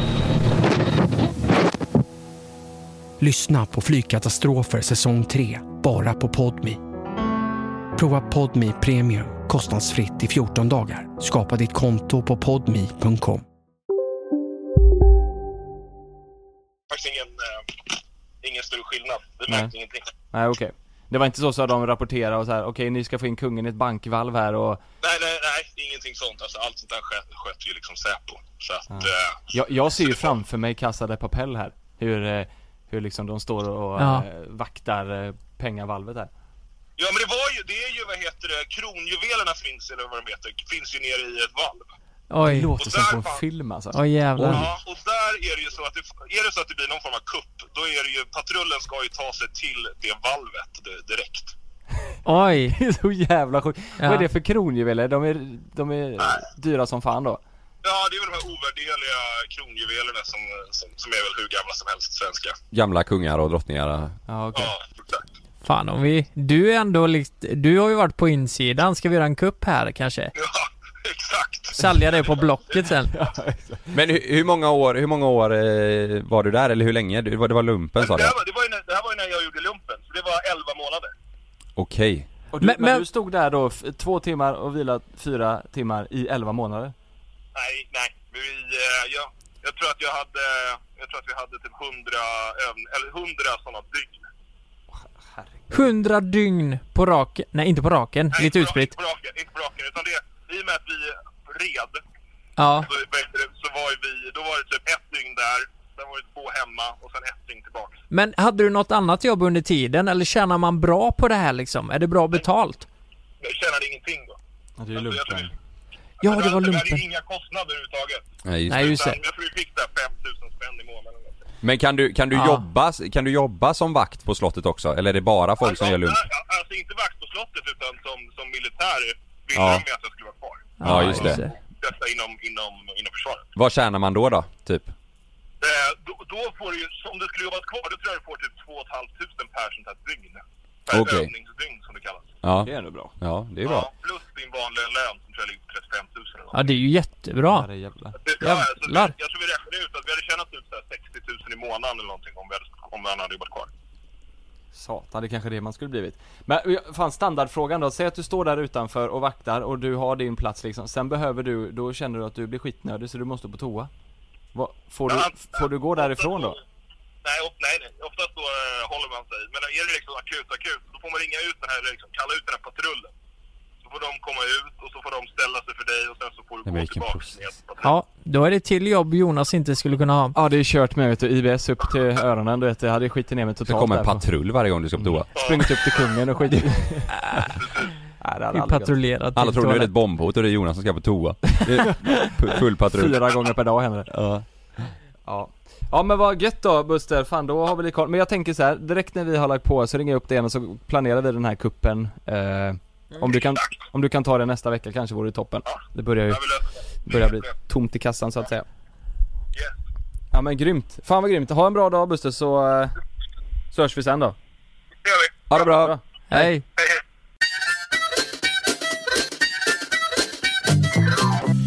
S8: Lyssna på Flygkatastrofer säsong 3, bara på Podmi. Prova Podmi Premium kostnadsfritt i 14 dagar. Skapa ditt konto på podmi.com.
S6: faktiskt ingen, eh, ingen stor skillnad. Vi
S4: Nej.
S6: märkte ingenting.
S4: Nej okej. Det var inte så så att de rapporterade och så här, okej ni ska få in kungen i ett bankvalv här och
S6: Nej, nej, nej, ingenting sånt. Alltså allt sånt där sköt, sköt ju liksom Säpo. Så att, eh,
S4: Jag, jag ser ju framför mig Casa de Papel här. Hur, eh, hur liksom de står och
S6: Ja.
S4: eh, vaktar eh, pengavalvet där.
S6: ja men det var ju, det är ju vad heter det, kronjuvelerna finns eller vad de heter, finns ju nere i ett valv.
S2: Oj.
S4: Det låter
S6: Och
S4: som
S6: där
S4: på en
S6: fan-
S4: film alltså.
S2: Oj, jävlar.
S6: Ja, och där är det ju så att det, är det så att det blir någon form av kupp, då är det ju, patrullen ska ju ta sig till det valvet di- direkt.
S4: Oj! Det är så jävla sjukt. Vad
S2: Ja.
S4: är det för kronjuveler? De är, de är dyra som fan då.
S6: Ja, det är väl de här ovärderliga kronjuvelerna som, som, som är väl hur gamla som helst svenska.
S1: Gamla kungar och drottningar.
S4: Ja, okej.
S2: Fan om vi... Du är ändå likt... Du har ju varit på insidan. Ska vi göra en kupp här kanske? Ja,
S6: exakt.
S2: Sälja det på Blocket sen.
S1: Men hur, hur många år, hur många år eh, var du där eller hur länge? Det var, det var lumpen sa du?
S6: Det här, var, det, var ju när, det här var ju när jag gjorde lumpen, så det var 11 månader.
S1: Okej.
S4: Och du, men, du stod där då f- två timmar och vilat fyra timmar i elva månader.
S6: Nej, nej. Vi, eh, jag, jag tror att jag hade, jag tror att vi hade typ 100 övn, eller 100 sådana dygn.
S2: 100 dygn på raken. Nej, inte på raken. Lite utspritt.
S6: På raken, inte på raken, utan det, i och med att vi red,
S2: Ja.
S6: så, vad heter det, så var ju vi, då var det typ ett dygn där, sen var det två hemma och sen ett dygn tillbaka.
S2: Men hade du något annat jobb under tiden eller tjänar man bra på det här liksom? Är det bra betalt?
S6: Jag tjänade ingenting då.
S4: Ja, det är
S6: lumpen.
S2: Ja, det var
S6: Vi hade ju
S2: lumpen.
S6: inga kostnader överhuvudtaget.
S1: Nej, just Nej, just det.
S6: Utan Jag tror vi fick där 5000 spänn i månaden.
S1: Men kan du, kan, du
S6: Ja.
S1: jobba, kan du jobba som vakt på slottet också? Eller är det bara folk som gör lump?
S6: Ja, Alltså inte vakt på
S5: slottet utan som, som militär ville
S1: Ja.
S5: de ju att jag skulle vara kvar.
S1: Ja, just det.
S5: Detta inom, inom, inom försvaret.
S1: Vad tjänar man då då, typ?
S5: Eh, då, då får du ju, om du skulle jobba kvar, då tror jag du får typ 2 500 per sånt här dygn. Per
S1: Okej.
S5: övningsdygn som det kallas.
S1: Ja.
S4: Det är ändå bra.
S1: Ja, det är bra.
S5: Plus din vanliga lön som tror jag ligger på 35 000 eller något.
S2: Ja, det är ju jättebra.
S5: Jag,
S2: Jävlar.
S5: jag tror vi räknade ut att vi hade tjänat typ så här 60 000 i månaden eller någonting om, vi hade, om han hade jobbat kvar.
S4: Satan, det är kanske är det man skulle blivit. Men ja, fan standardfrågan då, säg att du står där utanför och vaktar och du har din plats liksom. Sen behöver du, då känner du att du blir skitnödig så du måste på toa. Vad- får, du, får du gå därifrån då?
S5: Nej, och, nej, nej, oftast då eh, håller man sig. Men är det liksom akut, akut, då får man ringa ut den här, liksom, kalla ut den här patrullen. Så får de komma ut och så får de ställa sig för dig och sen så får du
S1: Nej,
S5: gå
S1: men vilken
S5: tillbaka.
S2: Ja, då är det till jobb Jonas inte skulle kunna ha.
S4: Ja det är kört med vet du, IBS upp till öronen du vet, det hade skitit ner mig totalt
S1: Det kommer en
S4: därifrån.
S1: patrull varje gång du ska på toa.
S4: Sprungit upp till kungen och skitit Nej, det hade aldrig gått.
S1: Alla tror nu är
S2: Typ
S1: det ett bombhot och det är Jonas som ska på toa. Det är pu- full patrull.
S4: Fyra gånger per dag händer det. Ja. ja. Ja men vad gött då Buster, fan då har vi lite koll. Men jag tänker så här, direkt när vi har lagt på så ringer jag upp dig igen och så planerar vi den här kuppen. Eh, om, du kan, om du kan ta det nästa vecka kanske vore det toppen. Det börjar ju det börjar bli tomt i kassan så att säga. Ja men grymt, fan vad grymt. Ha en bra dag Buster så, eh, så hörs vi sen då.
S1: Ha det bra.
S4: Hej.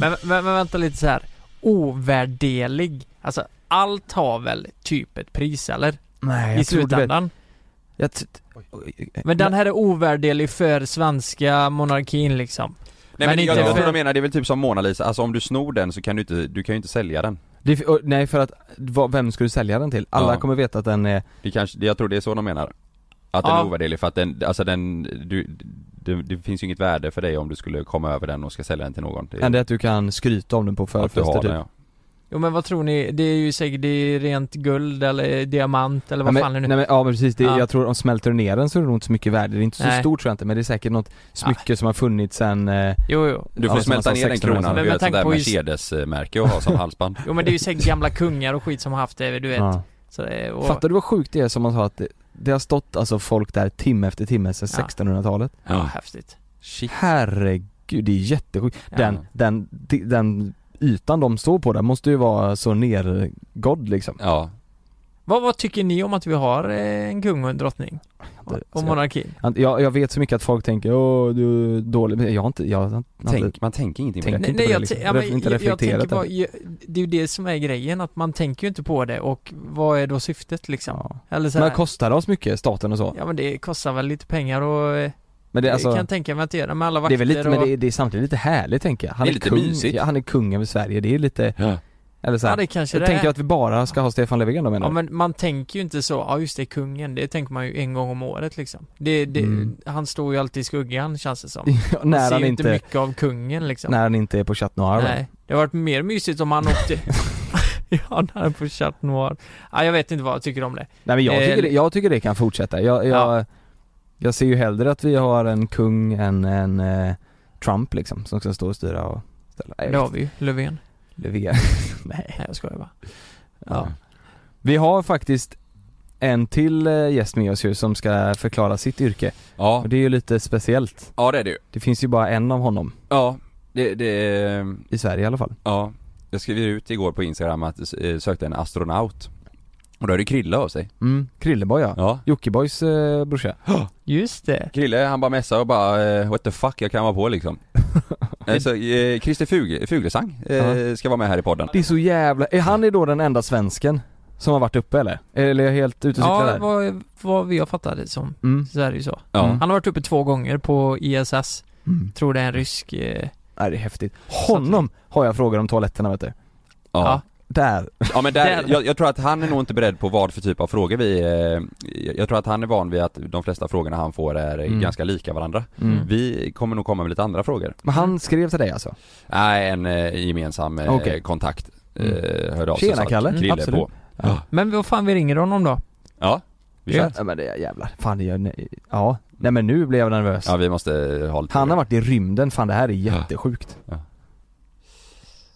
S2: Men, men, men vänta lite så här. Ovärderlig. Alltså allt har väl typ ett pris eller?
S4: Nej, jag
S2: I
S4: tror du vet-
S2: slutändan.
S4: Jag t-
S2: Men den här är ovärderlig för svenska monarkin liksom.
S1: Nej men, jag, jag
S2: för...
S1: tror de menar, det är väl typ som Mona Lisa, alltså om du snor den så kan du inte, du kan ju inte sälja den.
S4: Det, och, nej för att, vad, vem ska du sälja den till? Alla
S1: Ja.
S4: kommer veta att den är
S1: Det kanske, det- jag tror det är så de menar. Att den
S4: Ja.
S1: är ovärderlig för att den, alltså den, du, det, det finns ju inget värde för dig om du skulle komma över den och ska sälja den till någon. Det,
S4: Än det att du kan skryta om den på
S1: att du har
S4: förfester typ.
S1: den ja.
S2: Jo men vad tror ni? Det är ju säkert det är rent guld eller diamant eller vad
S4: nej,
S2: fan det
S4: men,
S2: nu
S4: nej, men, ja men precis, det,
S2: Ja.
S4: jag tror om smälter du ner den så är det nog inte så mycket värde. Det är inte så
S2: Nej.
S4: stort tror jag inte men det är säkert något smycke som har funnits sen eh,
S2: Jo, jo.
S1: Du får
S4: ja, som
S1: smälta
S4: man sa,
S1: ner den
S4: 1600
S1: kronan och göra
S2: Men med
S1: ett sånt där
S2: tanke på just-
S1: Mercedes-märke och ha som halsband.
S2: Jo men det är ju säkert gamla kungar och skit som har haft det, du vet.
S4: Ja.
S2: Så, det- och...
S4: Fattar du vad sjukt det är som man sa att det, det har stått alltså folk där timme efter timme sedan
S2: Ja.
S4: 1600-talet?
S2: Ja, häftigt.
S4: Herregud, det är jättesjukt.
S2: Ja.
S4: Den, den, den, den ytan de står på där måste ju vara så nergådd liksom.
S1: Ja.
S2: Vad, vad tycker ni om att vi har eh, en kung och en drottning? Och, och monarkin?
S4: Att alltså, Jag, jag vet så mycket att folk tänker åh du är dålig, men jag har inte, jag har inte
S1: Tänk- man tänker ingenting
S4: tänker
S2: Nej,
S4: inte
S2: nej,
S4: på det
S2: jag,
S4: liksom.
S2: t- ja, men,
S4: Ref- inte
S2: jag, jag
S4: reflekterat
S2: tänker bara,
S4: över det.
S2: jag, det är ju det som är grejen, att man tänker ju inte på det och vad är då syftet liksom? Eller så
S4: Men
S2: här,
S4: kostar det oss mycket, staten och så?
S2: Ja men det kostar väl lite pengar och eh,
S4: Men det är alltså-
S2: kan jag tänka mig att det gör det med alla
S4: Det
S2: vakter
S4: är väl lite, men
S2: och...
S4: det är, det är samtidigt lite härligt tänker jag. Han
S2: Det är
S4: är,
S2: lite
S4: kung,
S2: mysigt.
S4: ja, han är kung över Sverige, det är lite, eller så här,
S2: Ja, det kanske
S4: jag
S2: det
S4: tänker
S2: är.
S4: att vi bara ska ha Stefan Löfven då menar
S2: Ja
S4: du?
S2: men man tänker ju inte så, ja just det, kungen, det tänker man ju en gång om året liksom. Det, det,
S4: Mm.
S2: Han står ju alltid i skuggan känns det som.
S4: Ja,
S2: Man
S4: när
S2: ser
S4: han
S2: ju inte
S4: inte-
S2: mycket av kungen liksom.
S4: När han inte är på Chat Noir va?
S2: Nej, det har varit mer mysigt om han åkte Ja, när han är på Chat Noir. Ja, jag vet inte vad jag tycker om det.
S4: Nej men jag
S2: Eh,
S4: tycker, det, jag tycker det kan fortsätta. Jag, jag, jag ser ju hellre att vi har en kung än en eh, Trump liksom, som ska stå och styra och ställa. Nej,
S2: Det har
S4: visst.
S2: vi ju, Löfven.
S4: Löfven. Nej.
S2: Nej, jag skojar bara.
S4: Ja. Vi har faktiskt en till eh, gäst med oss ju som ska förklara sitt yrke.
S1: Ja.
S4: Och det är ju lite speciellt.
S1: Ja det är det ju.
S4: Det finns ju bara en av honom.
S1: Ja, det, det...
S4: I Sverige i alla fall.
S1: Ja. Jag skrev ut igår på Instagram att jag sökte en astronaut. Och då är det Krille av sig.
S4: Mm, Krilleboy ja.
S1: Ja.
S4: Jockibois eh, brorsa.
S2: Just det.
S1: Krille han bara messade och bara eh, what the fuck jag kan vara på liksom. Eh, Så eh, Christer Fug- Fuglesang eh,
S4: Ja.
S1: ska vara med här i podden.
S4: Det är så jävla, är han är då den enda svensken som har varit uppe eller? Eller är jag helt ute och
S2: Ja,
S4: cyklar där?
S2: vad, vad vi har fattat det som,
S4: Mm.
S2: så är det ju så.
S4: Ja.
S2: Han har varit uppe två gånger på ISS. Tror det är en rysk... Eh...
S4: Mm. Nej det är häftigt. Honom har jag frågor om toaletterna vet du.
S1: Ja.
S4: Där.
S1: Ja men där,
S4: Där.
S1: jag, jag tror att han är nog inte beredd på vad för typ av frågor vi, eh, jag tror att han är van vid att de flesta frågorna han får är eh,
S4: Mm.
S1: ganska lika varandra.
S4: Mm.
S1: Vi kommer nog komma med lite andra frågor.
S4: Men han skrev till dig alltså?
S1: Nej, en eh, gemensam eh,
S4: Okej.
S1: kontakt eh,
S4: Mm.
S1: hörde av sig
S4: Tjena,
S1: och sa att
S4: Kalle.
S1: Krille är
S4: Absolut.
S1: på.
S2: Men vad fan, vi ringer honom då.
S1: Ja, vi kör.
S4: Ja men det är jävlar, fan det gör, ja. Nej men nu blev jag nervös.
S1: Ja vi måste eh, ha lite
S4: Han har varit i rymden, fan det här är jättesjukt.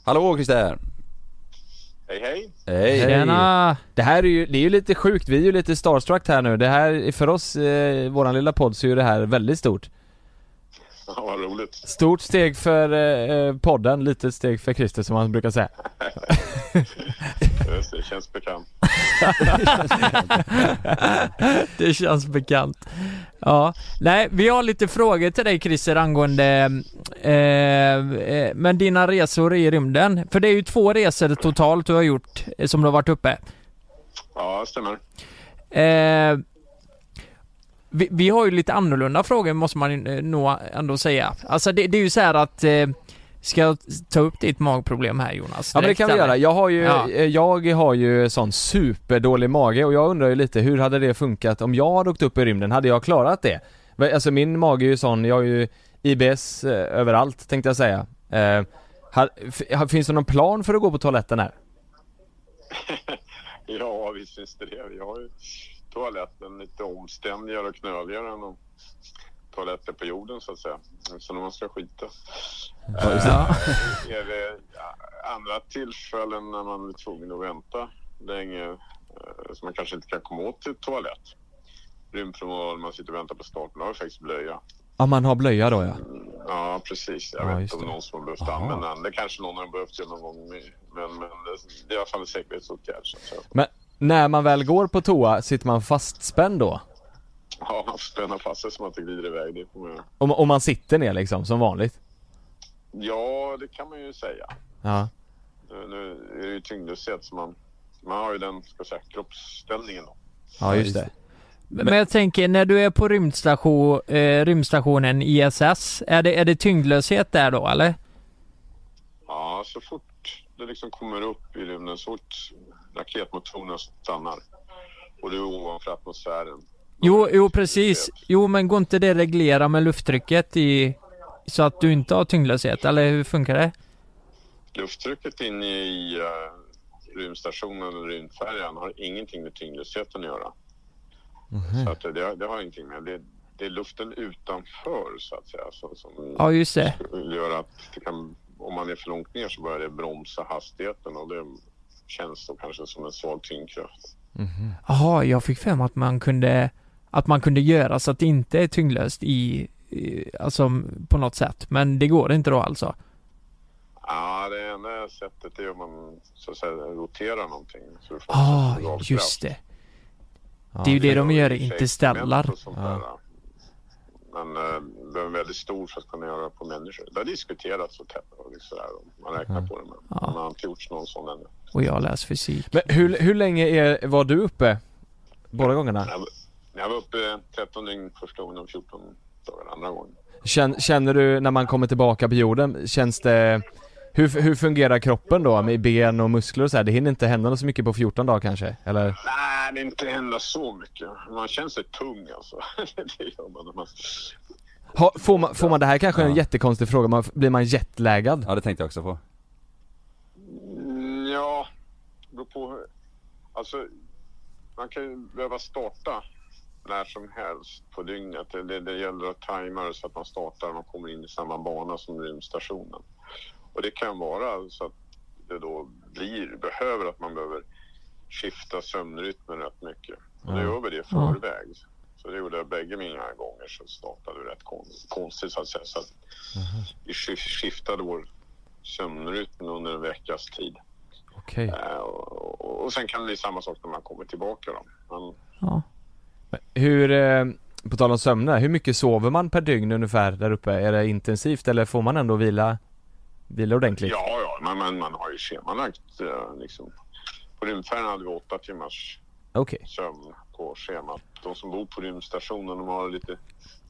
S1: Hallå Christer!
S5: Hej hej!
S1: Hej!
S4: Det här är ju, det är ju lite sjukt, vi är ju lite starstruck här nu. Det här, för oss, eh, våran lilla podd, så är ju det här väldigt stort.
S6: Ja, vad roligt.
S4: Stort steg för eh, podden, litet steg för Christer som man brukar säga.
S6: Just det, känns bekant.
S2: det känns bekant. Ja, nej, vi har lite frågor till dig Christer angående eh, eh, men dina resor i rymden. För det är ju två resor totalt du har gjort eh, som du har varit uppe.
S6: Ja, stämmer.
S2: Eh, vi, vi har ju lite annorlunda frågor måste man eh, nog ändå säga. Alltså det, det är ju så här att eh, Ska jag ta upp ditt magproblem här Jonas?
S4: Ja men det
S2: direkt,
S4: kan vi
S2: eller?
S4: göra. Jag har ju,
S2: Ja.
S4: eh, jag har ju sån superdålig mage och jag undrar ju lite hur hade det funkat om jag hade åkt upp i rymden? Hade jag klarat det? Men, Alltså min mage är ju sån, jag har ju IBS eh, överallt tänkte jag säga. Eh, har, f- finns det någon plan för att gå på toaletten här?
S6: Ja, visst finns det det. Vi har ju toaletten lite omständigare och knöligare än de toaletter på jorden så att säga. Så när man ska skita.
S4: Ja, just det.
S6: Eh, är det andra tillfällen när man är tvungen att vänta länge eh, som man kanske inte kan komma åt till toalett. Rymdpromenad, man sitter och väntar på starten. Då har vi faktiskt blöja.
S4: Ja man har blöja då ja.
S6: Ja, precis. Jag
S4: Ja,
S6: vet
S4: just
S6: inte om
S4: det.
S6: någon som har behövt
S4: Aha.
S6: använda den. Det kanske någon har behövt göra någon gång. med- Men, men det är i alla fall en säkerhetsåtgärd. Så att säga.
S4: Men när man väl går på toa, sitter man fastspänd då?
S6: Ja, man får spänna fast sig så man inte glider iväg. Det får man göra.
S4: Om, om man sitter ner liksom, som vanligt?
S6: Ja, det kan man ju säga.
S4: Ja.
S6: Nu, nu är det ju tyngdlöshet så man, man har ju den ska jag säga, kroppsställningen. Då.
S4: Ja just det.
S2: Men, jag tänker, när du är på rymdstation, eh, rymdstationen ISS, är det, är det tyngdlöshet där då eller?
S6: Ja, så fort det liksom kommer upp i rymden, så fort raketmotorerna stannar och du är ovanför atmosfären.
S2: Jo, jo precis. Jo men går inte det reglera med lufttrycket i... Så att du inte har tyngdlöshet, eller hur funkar det?
S6: Lufttrycket inne i eh, rymdstationen eller rymdfärjan har ingenting med tyngdlösheten att göra.
S2: Mhm.
S6: Så att det, det har ingenting med det. Det är luften utanför så att säga som, som
S2: Ja, just det.
S6: gör att det kan, om man är för långt ner så börjar det bromsa hastigheten och det känns då kanske som en svag tyngdkraft.
S2: Jaha, jag fick för mig att man kunde... Att man kunde göra så att det inte är tyngdlöst i... i alltså på något sätt. Men det går inte då alltså?
S6: Ja, det enda sättet är om man så att säga roterar någonting. Så du får
S2: Ah,
S6: en dragkraft.
S2: just det. det är ju det de gör, inte ställar.
S6: och sånt där. Men eh, den är väldigt stor för att kunna göra på människor. Det har diskuterats och tätt och liksom sådär. och Man räknar
S2: Mm.
S6: på det men man har inte gjort någon sån ännu.
S2: Och jag läser fysik.
S4: Men hur, hur länge är, var du uppe? Båda gångerna?
S6: Jag, var- jag var uppe 13 dygn första gången och 14 dagar andra gången.
S4: Känn, känner du när man kommer tillbaka på jorden, känns det... Hur, hur fungerar kroppen då med ben och muskler och så här? Det hinner inte hända så mycket på 14 dagar kanske? Eller?
S6: Nej, det inte händer så mycket. Man känner sig tung alltså. det gör man när man...
S4: Ha, får, man, får man, det här kanske är en
S6: Ja.
S4: jättekonstig fråga, man, blir man jetlaggad?
S1: Ja det tänkte jag också på.
S6: Mm, Ja, beror på. hur- Alltså, man kan ju behöva starta när som helst på dygnet. Det, det, det gäller att tajma det så att man startar och man kommer in i samma bana som rymdstationen. Och det kan vara så att det då blir, behöver att man behöver skifta sömnrytmen rätt mycket. Och då
S4: Ja.
S6: gör vi det i
S4: Ja.
S6: förväg. Så det gjorde jag bägge mina gånger så startade det rätt kon- konstigt så att säga. Så att vi skif- skiftade vår sömnrytm under en veckas tid.
S4: Okej.
S6: Eh, och- och, och sen kan det bli samma sak när man kommer tillbaka då. Man,
S4: Hur, eh, på tal om sömne, hur mycket sover man per dygn ungefär där uppe? Är det intensivt eller får man ändå vila, vila ordentligt?
S6: ja, ja, man, man, man har ju schemalagt eh, liksom. På rymdfärjan hade vi åtta timmars
S4: Okej.
S6: sömn på schemat. De som bor på rymdstationen de har det lite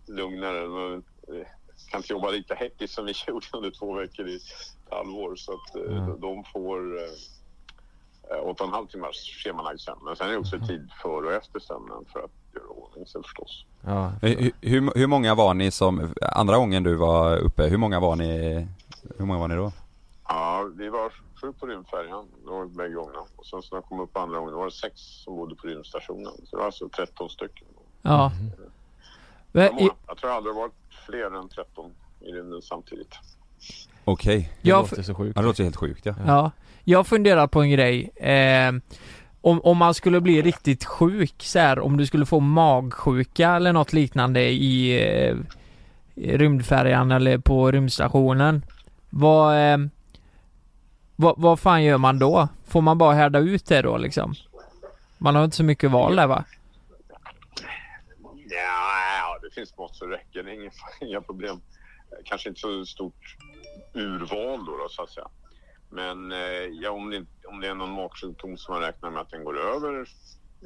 S6: lugnare. De eh, kan inte jobba lika hektiskt som vi gjorde under två veckor i ett halvår. Så att eh,
S4: Mm.
S6: de- de får eh, eh, åtta och en halv timmars schemalagd sömn. Men sen är det också tid före och efter sömnen för att göra ordning sig förstås.
S4: Ja.
S1: Hur, hur, hur många var ni som, andra gången du var uppe, hur många var ni, hur många var ni då?
S6: Ja, vi var sju på rymdfärjan det var bägge gångerna. Och sen så när jag kom upp andra gången, då var det sex som bodde på rymdstationen. Så det var alltså 13 stycken.
S2: Ja. Eh,
S6: Det
S2: Men,
S6: var många. Jag tror aldrig det varit fler än 13 i rymden samtidigt.
S1: Okej.
S2: Det Jag- låter
S4: så sjukt.
S1: Ja, det låter helt sjukt ja.
S2: Ja, jag funderar på en grej. Eh, om, om man skulle bli riktigt sjuk så här, om du skulle få magsjuka eller något liknande i, eh, rymdfärjan eller på rymdstationen. Vad, eh, vad, vad fan gör man då? Får man bara härda ut det då liksom? Man har inte så mycket val där va?
S6: Ja, det finns mått så räcker. Det är inga, inga problem. Kanske inte så stort urval då, då så att säga. Men eh, ja, om, det, om det är någon magsjukdom som man räknar med att den går över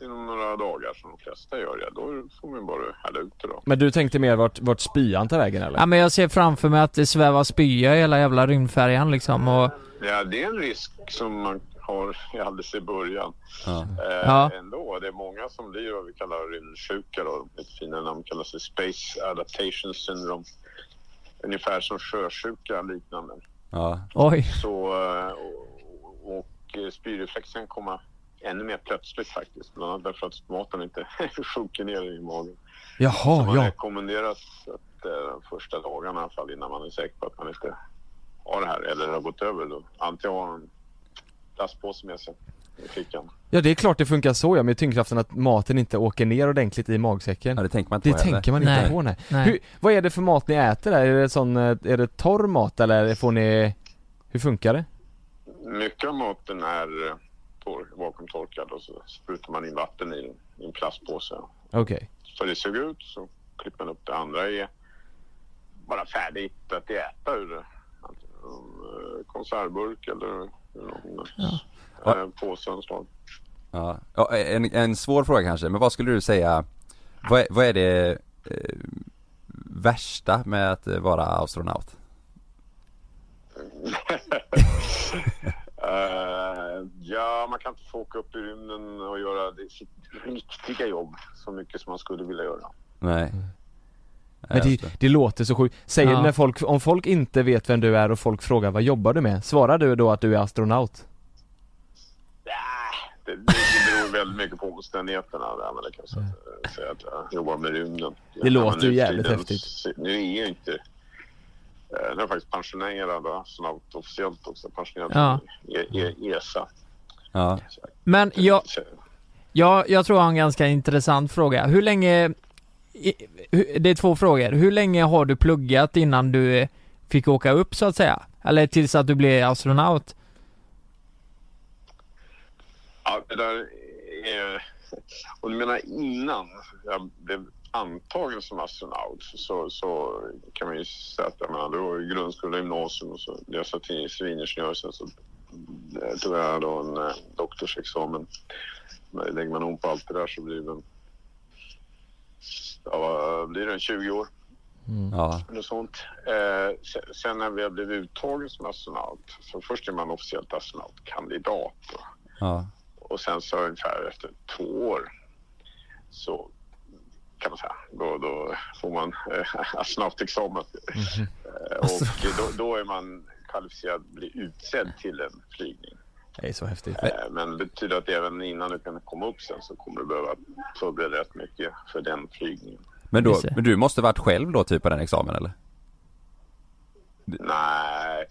S6: inom några dagar som de flesta gör, ja, då får man bara härda ut det då.
S9: Men du tänkte mer vart, vart spyan tar vägen eller?
S2: Ja men jag ser framför mig att det svävar spya i hela jävla rymdfärjan liksom och...
S6: Ja, det är en risk som man har alldeles i början.
S2: Ja.
S6: Eh,
S2: Ja.
S6: Ändå, det är många som blir vad vi kallar rymdsjuka. Då. Ett fina namn kallas det Space Adaptation Syndrome. Ungefär som sjösjuka liknande.
S1: Ja.
S2: Oj.
S6: Så, eh, och- och eh, spyreflexen kan komma ännu mer plötsligt faktiskt. Bland annat därför att maten inte sjunker ner i magen. Så
S9: Jaha,
S6: man
S9: ja.
S6: rekommenderas att eh, de första dagarna i alla fall innan man är säker på att man inte har det här eller har gått över. Då. Antingen har man en plastpåse med sig i fickan.
S9: Ja det är klart det funkar så ja, med tyngdkraften att maten inte åker ner ordentligt i magsäcken. Ja det tänker man
S1: inte
S9: Det
S1: på heller.
S9: tänker man inte
S1: Nej.
S9: på nej.
S1: Nej.
S9: Hur, vad är det för mat ni äter där? Är det sån, eh, är det torr mat eller får ni, hur funkar det?
S6: Mycket av maten är eh, torr, vakuumtorkad och så sprutar man in vatten i, den- i en plastpåse.
S9: Okej.
S6: Så det såg ut så klipper man upp det andra är bara färdigt att äta ur det. Antingen, eh, Konservburk eller någon
S1: Ja.
S6: eh, påse av något slag.
S1: Ja. Ja, en, en svår fråga kanske, men vad skulle du säga, vad är, vad är det eh, värsta med att eh, vara astronaut?
S6: Eh, ja, man kan inte få åka upp i rymden och göra det- sitt riktiga jobb så mycket som man skulle vilja göra.
S1: Nej.
S9: Men det, det låter så sjukt. Säger
S1: Ja.
S9: när folk, om folk inte vet vem du är och folk frågar vad jobbar du med? Svarar du då att du är astronaut?
S6: Det, det beror väldigt mycket på omständigheterna. Där, men det kan jag säga- säga att jag jobbar med rymden.
S9: Mm. Det låter ju
S6: nu för
S9: jävligt
S6: tiden-
S9: häftigt.
S6: Nu är jag inte... eh, Nu är jag faktiskt pensionerad astronaut officiellt också. Pensionerad E-
S2: Ja.
S6: i, i ESA.
S1: Ja.
S2: Men jag, jag, jag tror jag har en ganska intressant fråga. Hur länge, i- hu- det är två frågor. Hur länge har du pluggat innan du eh, fick åka upp så att säga? Eller tills att du blev astronaut?
S6: Ja, det där är... Och du menar innan jag blev antagen som astronaut så, så kan man ju säga att jag menar, det var ju grundskola, gymnasium och så läste jag till civilingenjör. Sen så eh, tog jag då en eh, doktorsexamen. Men Lägger man om på allt det där så blir det, en- ja, vad blir det en 20 år
S1: Ja.
S6: eller sånt. Eh, se- sen när jag blev uttagen som astronaut, så först är man officiellt astronautkandidat. Då.
S1: Ja.
S6: Och sen så ungefär efter två år så kan man säga, då, då får man eh, astronautexamen. Eh, och då, då är man kvalificerad att bli utsedd till en flygning.
S9: Det är så häftigt.
S6: Eh, men det betyder att även innan du kan komma upp sen så kommer du behöva förbereda rätt mycket för den flygningen.
S1: Men, då,
S6: Just det.
S1: men du måste varit själv då typ på den examen eller?
S6: Nej,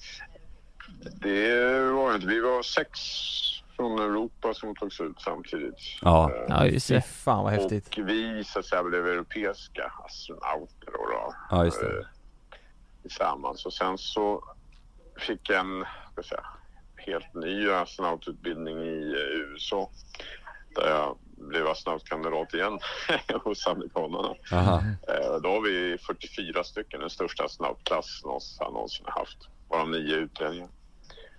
S6: det var det inte. Vi var sex från Europa som togs ut samtidigt.
S1: Ja.
S2: Ja, just det.
S9: Fy fan vad häftigt.
S6: Och vi så att säga blev europeiska astronauter då, då eh,
S1: Ja just det.
S6: tillsammans. Och sen så fick jag en ska jag säga, helt ny astronaututbildning i eh, USA. Där jag blev astronautkandidat igen hos amerikanerna.
S1: Aha.
S6: Eh, Då har vi 44 stycken, den största astronautklass någonsin, någonsin har haft. Varav nio utlänningar.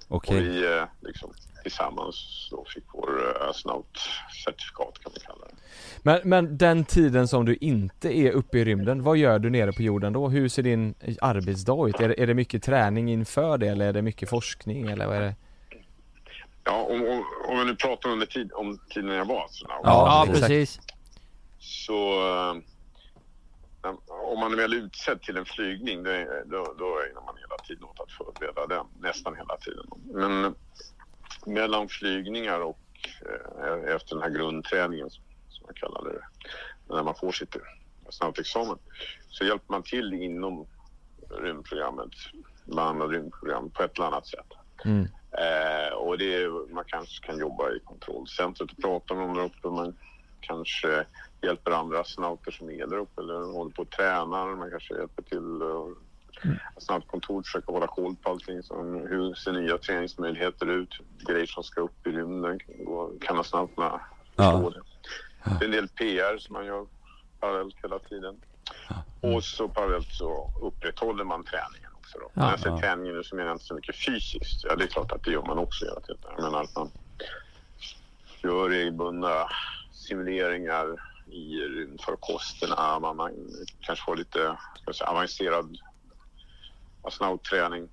S1: Okej.
S6: Och vi eh, liksom, tillsammans då fick vår eh, astronautcertifikat kan man kalla det.
S9: Men, men den tiden som du inte är uppe i rymden, vad gör du nere på jorden då? Hur ser din eh, arbetsdag ut? Är, det- är det mycket träning inför det eller är det mycket forskning eller vad är det?
S6: Ja, om, om, om vi nu pratar under tid, om tiden när jag var astronaut.
S9: Ja, Ja, precis. precis.
S6: Så eh, när- om man är väl utsedd till en flygning då, är- då, då ägnar man hela tiden åt att förbereda den. Nästan hela tiden. Men mellan flygningar och eh, efter den här grundträningen som man kallar det, när man får sitt astronautexamen, så hjälper man till inom rymdprogrammet, bland annat rymdprogrammet på ett eller annat sätt.
S9: Mm.
S6: Eh, och det är, man kanske kan jobba i kontrollcentret och prata med dem där uppe. Man kanske hjälper andra astronauter som är där uppe eller håller på och tränar. Man kanske hjälper till och astronautkontoret försöker hålla koll på allting. Som hur ser nya träningsmöjligheter ut? Grejer som ska upp i rymden. Och Kan astronauterna förstå det? Det är en del PR som man gör parallellt hela tiden.
S10: Mm.
S6: Och så parallellt så upprätthåller man träningen också. Då.
S10: Ja,
S6: När jag säger
S10: ja.
S6: träning nu så menar jag inte så mycket fysiskt. Ja, det är klart att det gör man också hela tiden. Jag menar att man gör regelbundna simuleringar i rymdfarkosterna. Man, man kanske får lite ska jag säga, avancerad astronautträning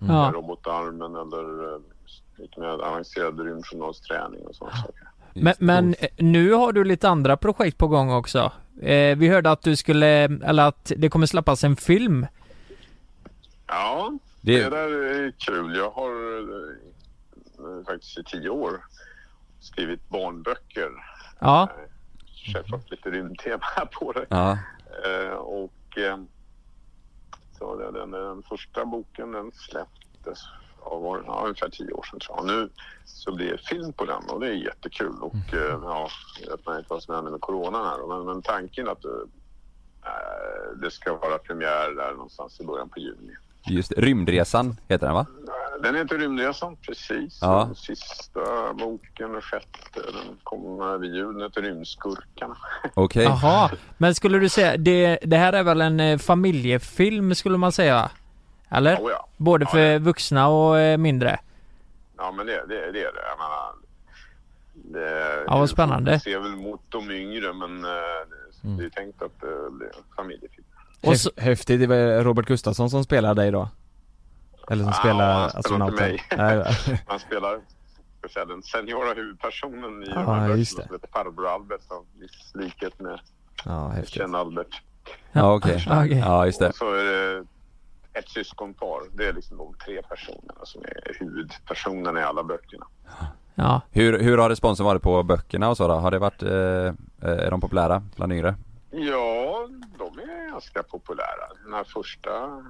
S2: Mm. Ja.
S6: med robotarmen eller eh, lite mer avancerad rymdjournalsträning och sånt.
S2: Men, men eh, nu har du lite andra projekt på gång också. Eh, vi hörde att du skulle, eller att det kommer släppas en film.
S6: Ja,
S2: Det-
S6: det... där är kul. Jag har eh, faktiskt i tio år skrivit barnböcker.
S2: Ja.
S6: Självklart lite rymdtema på det.
S1: Ja.
S6: Eh, och eh, så har jag den, den första boken den släpptes ja, var, ja, ungefär tio år sedan tror jag. Och nu så blir det film på den och det är jättekul. Och eh, ja, jag vet inte vad som händer med coronan här. Men, men tanken att eh, det ska vara premiär där någonstans i början på juni.
S1: Just det. Rymdresan heter den va?
S6: Den heter Rymdresan, precis.
S1: Ja.
S6: Den sista boken, den sjätte, den kom vid jul. Den heter Rymdskurkarna.
S1: Okej.
S2: Jaha. Men skulle du säga, det, det här är väl en eh, familjefilm skulle man säga? Eller?
S6: Oh, ja.
S2: Både för vuxna och eh, mindre?
S6: Ja, men det, det, det är det. Jag menar, det
S2: Ja, vad spännande.
S6: Det ser väl mot de yngre, men eh, det, det är tänkt att det blir en familjefilm.
S2: Och
S9: Häf- Häftigt, det var Robert Gustafsson som spelar dig då? Eller som
S6: Ja,
S9: spelar
S6: han Ah, spelar inte
S9: astronauten?
S6: mig.
S9: Nej, va?
S6: Han spelar ska jag säga, den seniora huvudpersonen i
S9: Ja,
S6: de här
S9: just
S6: böckerna som heter Farbror Albert. av viss likhet med
S9: ja, häftigt.
S6: Ken Albert.
S1: Ja okej.
S2: Okej.
S1: Ja just det.
S6: Och så är det eh, ett syskonpar. Det är liksom de tre personerna som är huvudpersonerna i alla böckerna.
S2: Ja.
S1: Hur, hur har responsen varit på böckerna och så då? Har det varit, eh, är de populära bland yngre?
S6: Ja, de är ganska populära. Den här första...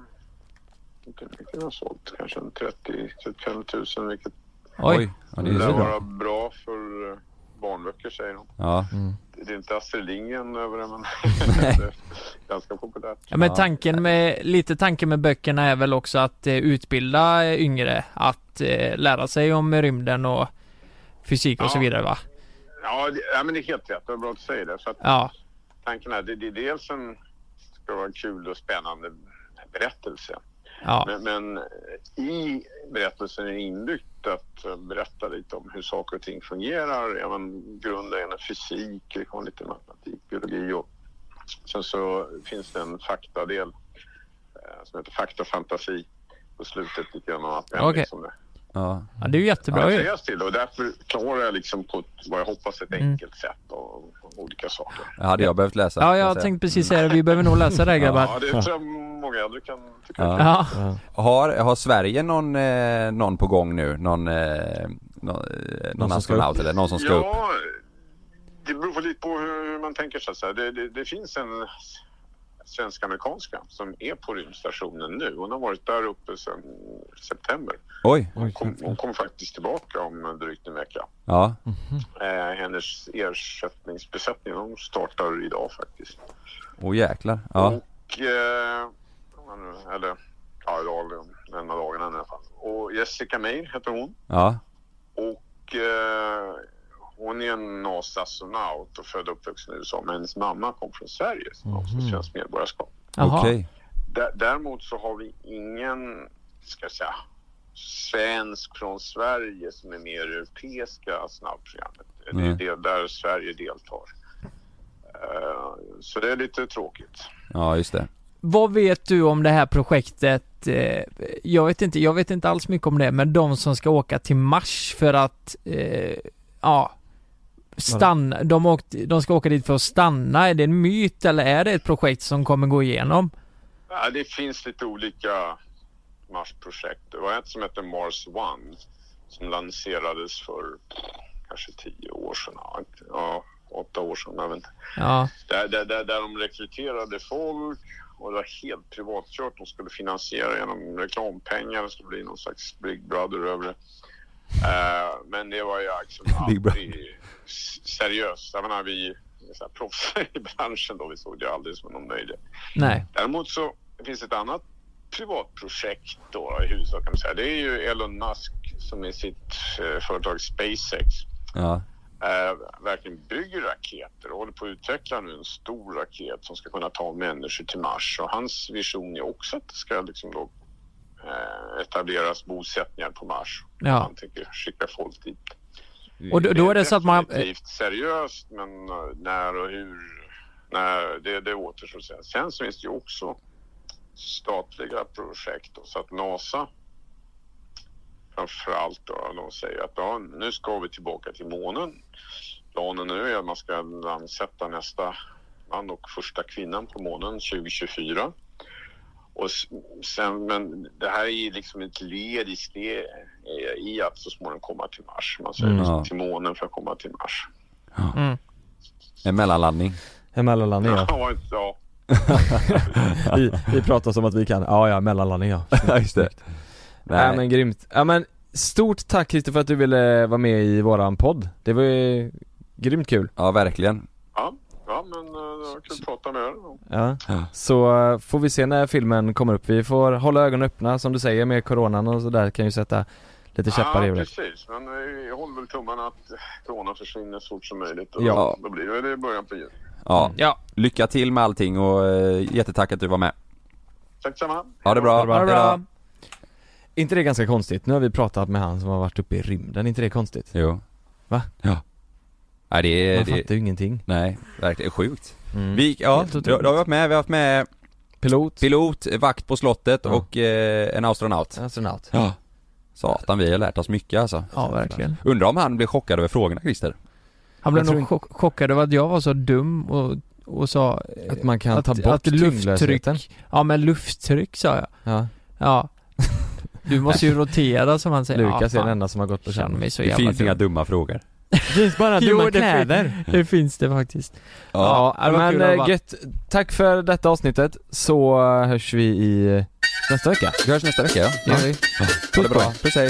S6: Inte mycket den har sålt. Kanske en 30-35 000 vilket
S1: Oj. ja, det är ju
S6: lär
S1: så
S6: vara
S1: bra.
S6: bra för eh, barnböcker säger de.
S1: Ja.
S6: Det är inte Astrid Lindgren över det men det är ganska populärt.
S2: Ja, men tanken med, lite tanken med böckerna är väl också att eh, utbilda eh, yngre att eh, lära sig om rymden och fysik och så vidare va?
S6: Ja, det, ja, men det är helt rätt. Det var bra att du säger det. Så att
S2: Ja.
S6: Tanken är det, det är dels en ska vara en kul och spännande berättelse.
S2: Ja.
S6: Men, men eh, i berättelsen är det inbyggt att eh, berätta lite om hur saker och ting fungerar. Ja, men grundläggande fysik, det kommer lite matematik, biologi och sen så finns det en faktadel eh, som heter fakta och fantasi på slutet lite grann om att
S2: Okej.
S6: det
S1: Ja.
S2: ja, det är ju jättebra
S6: ja,
S2: ju.
S6: jag till och därför klarar jag liksom på ett, vad jag hoppas ett
S2: Mm.
S6: enkelt sätt och, och olika saker.
S1: Det hade jag behövt läsa.
S2: Ja,
S1: kan
S2: jag
S1: säga.
S2: tänkte precis säga det. Vi behöver nog läsa det här, grabbar.
S6: Ja, det tror jag många äldre kan tycka.
S2: Ja.
S1: Har, har Sverige någon, eh, någon på gång nu? Någon, eh, någon, eh, någon
S9: som ska
S1: astronaut
S9: upp?
S1: eller någon som ska upp?
S6: Ja, det beror lite på hur hur man tänker sig. Så här. Det, det, det finns en svensk-amerikanska som är på rymdstationen nu. Hon har varit där uppe sedan september.
S1: Oj.
S6: Hon kom, hon kom faktiskt tillbaka om drygt en vecka.
S1: Ja.
S6: Eh, hennes ersättningsbesättning de startar idag faktiskt.
S1: Åh jäklar.
S4: Oh.
S1: Ja.
S6: Och, eh, vad nu, eller ja, idag, den ena dagen i alla fall. Och Jessica May heter hon.
S1: Ja.
S6: Och eh, hon är en NASA-astronaut och född och uppvuxen i USA. Men hennes mamma kom från Sverige som har också svenskt medborgarskap.
S1: Okej.
S6: Dä- Däremot så har vi ingen, ska jag säga, svensk från Sverige som är med i europeiska snabbprogrammet.
S1: Nej.
S6: Det är det där Sverige deltar. Eh, Så det är lite tråkigt.
S1: Ja, just det.
S2: Vad vet du om det här projektet? Eh, Jag vet inte, jag vet inte alls mycket om det, men de som ska åka till Mars för att, eh, ja, stanna, de, åkte, de ska åka dit för att stanna. Är det en myt eller är det ett projekt som kommer gå igenom?
S6: Ja, det finns lite olika Mars-projekt. Det var ett som hette Mars One som lanserades för kanske tio år sedan. ja, inte- Ja, åtta år sedan. Jag vet inte.
S2: Ja.
S6: Där, där, där, där de rekryterade folk och det var helt privatkört. De skulle finansiera genom reklampengar. Det skulle bli någon slags Big Brother över det. Eh, men det var ju liksom
S1: Big Brother.
S6: aldrig s- seriöst. Jag menar, vi så här, proffs i branschen då. Vi såg det aldrig som någon nöjd.
S11: Nej.
S6: Däremot så finns ett annat privatprojekt då i huvudsak kan man säga. Det är ju Elon Musk som i sitt eh, företag SpaceX
S1: Ja.
S6: eh, verkligen bygger raketer och håller på att utveckla nu en stor raket som ska kunna ta människor till Mars. Och hans vision är också att det ska liksom då, eh, etableras bosättningar på Mars.
S11: Ja.
S6: Han tänker skicka folk dit.
S11: Och då- då är det så att man-
S2: eh,
S6: Definitivt seriöst, men eh, när och hur, när, det, det återstår att säga. Sen så finns det ju också statliga projekt. Då, så att NASA framförallt då, de säger att ja, nu ska vi tillbaka till månen. Planen nu är att man ska landsätta nästa man och första kvinnan på månen 2024. Och s- sen, men det här är ju liksom ett led i, ste, i att så småningom komma till Mars. Man säger
S1: Mm.
S6: man ska
S1: Ja.
S6: till månen för att komma till Mars.
S1: En mellanlandning.
S4: En mellanlandning ja.
S6: Ja, ja.
S4: vi, vi pratar som att vi kan, ja ja mellanlandning ja. Ja just det. Nej. men grymt. Ja men stort tack Christer för att du ville vara med i våran podd. Det var ju grymt kul.
S1: Ja verkligen.
S6: Ja, ja men eh, det var kul att prata med er.
S4: Ja. Så eh, får vi se när filmen kommer upp. Vi får hålla ögonen öppna som du säger med coronan och sådär kan ju sätta lite käppar i
S6: Ja,
S4: hjulet.
S6: precis. Men eh, jag håller väl tummarna att corona försvinner så fort som möjligt. Och
S1: Ja.
S6: Då blir det väl i början på jul.
S1: Ja. Lycka till med allting och eh, jättetack att du var med.
S6: Tack samma.
S1: Ha det bra.
S4: Ha det bra.
S1: Hejdå.
S4: inte det ganska konstigt? Nu har vi pratat med han som har varit uppe i rymden, inte det konstigt?
S1: Jo.
S4: Va?
S1: Ja. Nej, det är,
S4: Man
S1: det...
S4: fattar ju ingenting.
S1: Nej, verkligen sjukt.
S4: Mm.
S1: Vi, ja,
S4: Helt
S1: då,
S4: otroligt.
S1: då har vi varit med, vi har haft med
S4: Pilot.
S1: Pilot, vakt på slottet och eh, en astronaut.
S4: Astronaut.
S1: Ja. Satan, vi har lärt oss mycket alltså.
S11: Ja, verkligen.
S1: Undrar om han blev chockad över frågorna Christer?
S11: Han blev
S1: Jag tror
S11: nog chock, chockad över att jag var så dum och, och sa eh,
S4: Att man kan ta bort
S11: lufttryck,
S4: tyngdlösheten.
S11: Ja men lufttryck sa jag.
S4: Ja.
S11: Ja. Du måste ju rotera som han säger.
S4: Lukas
S11: ja,
S4: är den
S11: fan.
S4: enda som har gått på
S11: Känner mig
S4: känn.
S11: så jävla dum.
S1: dumma frågor.
S4: Det finns bara
S11: Jo, det fin- Det finns det faktiskt.
S4: Ja,
S11: det var kul
S4: men
S11: att
S4: eh,
S11: vara-
S4: gött. Tack för detta avsnittet så eh, hörs vi i eh, nästa vecka.
S1: Vi hörs nästa vecka ja.
S4: Ja.
S1: Ha det bra. Puss hej.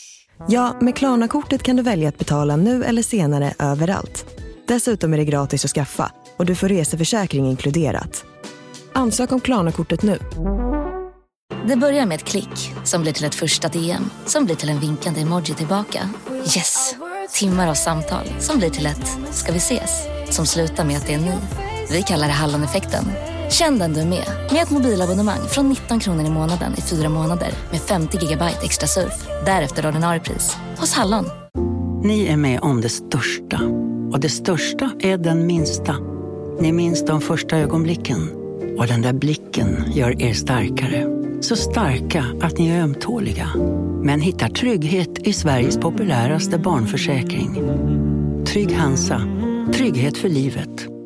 S12: Ja, med Klarna-kortet kan du välja att betala nu eller senare överallt. Dessutom är det gratis att skaffa och du får reseförsäkring inkluderat. Ansök om Klarna-kortet nu.
S13: Det börjar med ett klick som blir till ett första DM som blir till en vinkande emoji tillbaka. Yes! Timmar av samtal som blir till ett “ska vi ses?” som slutar med att det är ni. Vi kallar det Halloneffekten. Känn den du är med, med ett mobilabonnemang från 19 kronor i månaden i fyra månader med 50 gigabyte extra surf. Därefter ordinarie pris, hos Hallon.
S2: Ni är med om det största. Och det största är den minsta. Ni minns de första ögonblicken. Och den där blicken gör er starkare. Så starka att ni är ömtåliga. Men hittar trygghet i Sveriges populäraste barnförsäkring. Trygg Hansa. Trygghet för livet.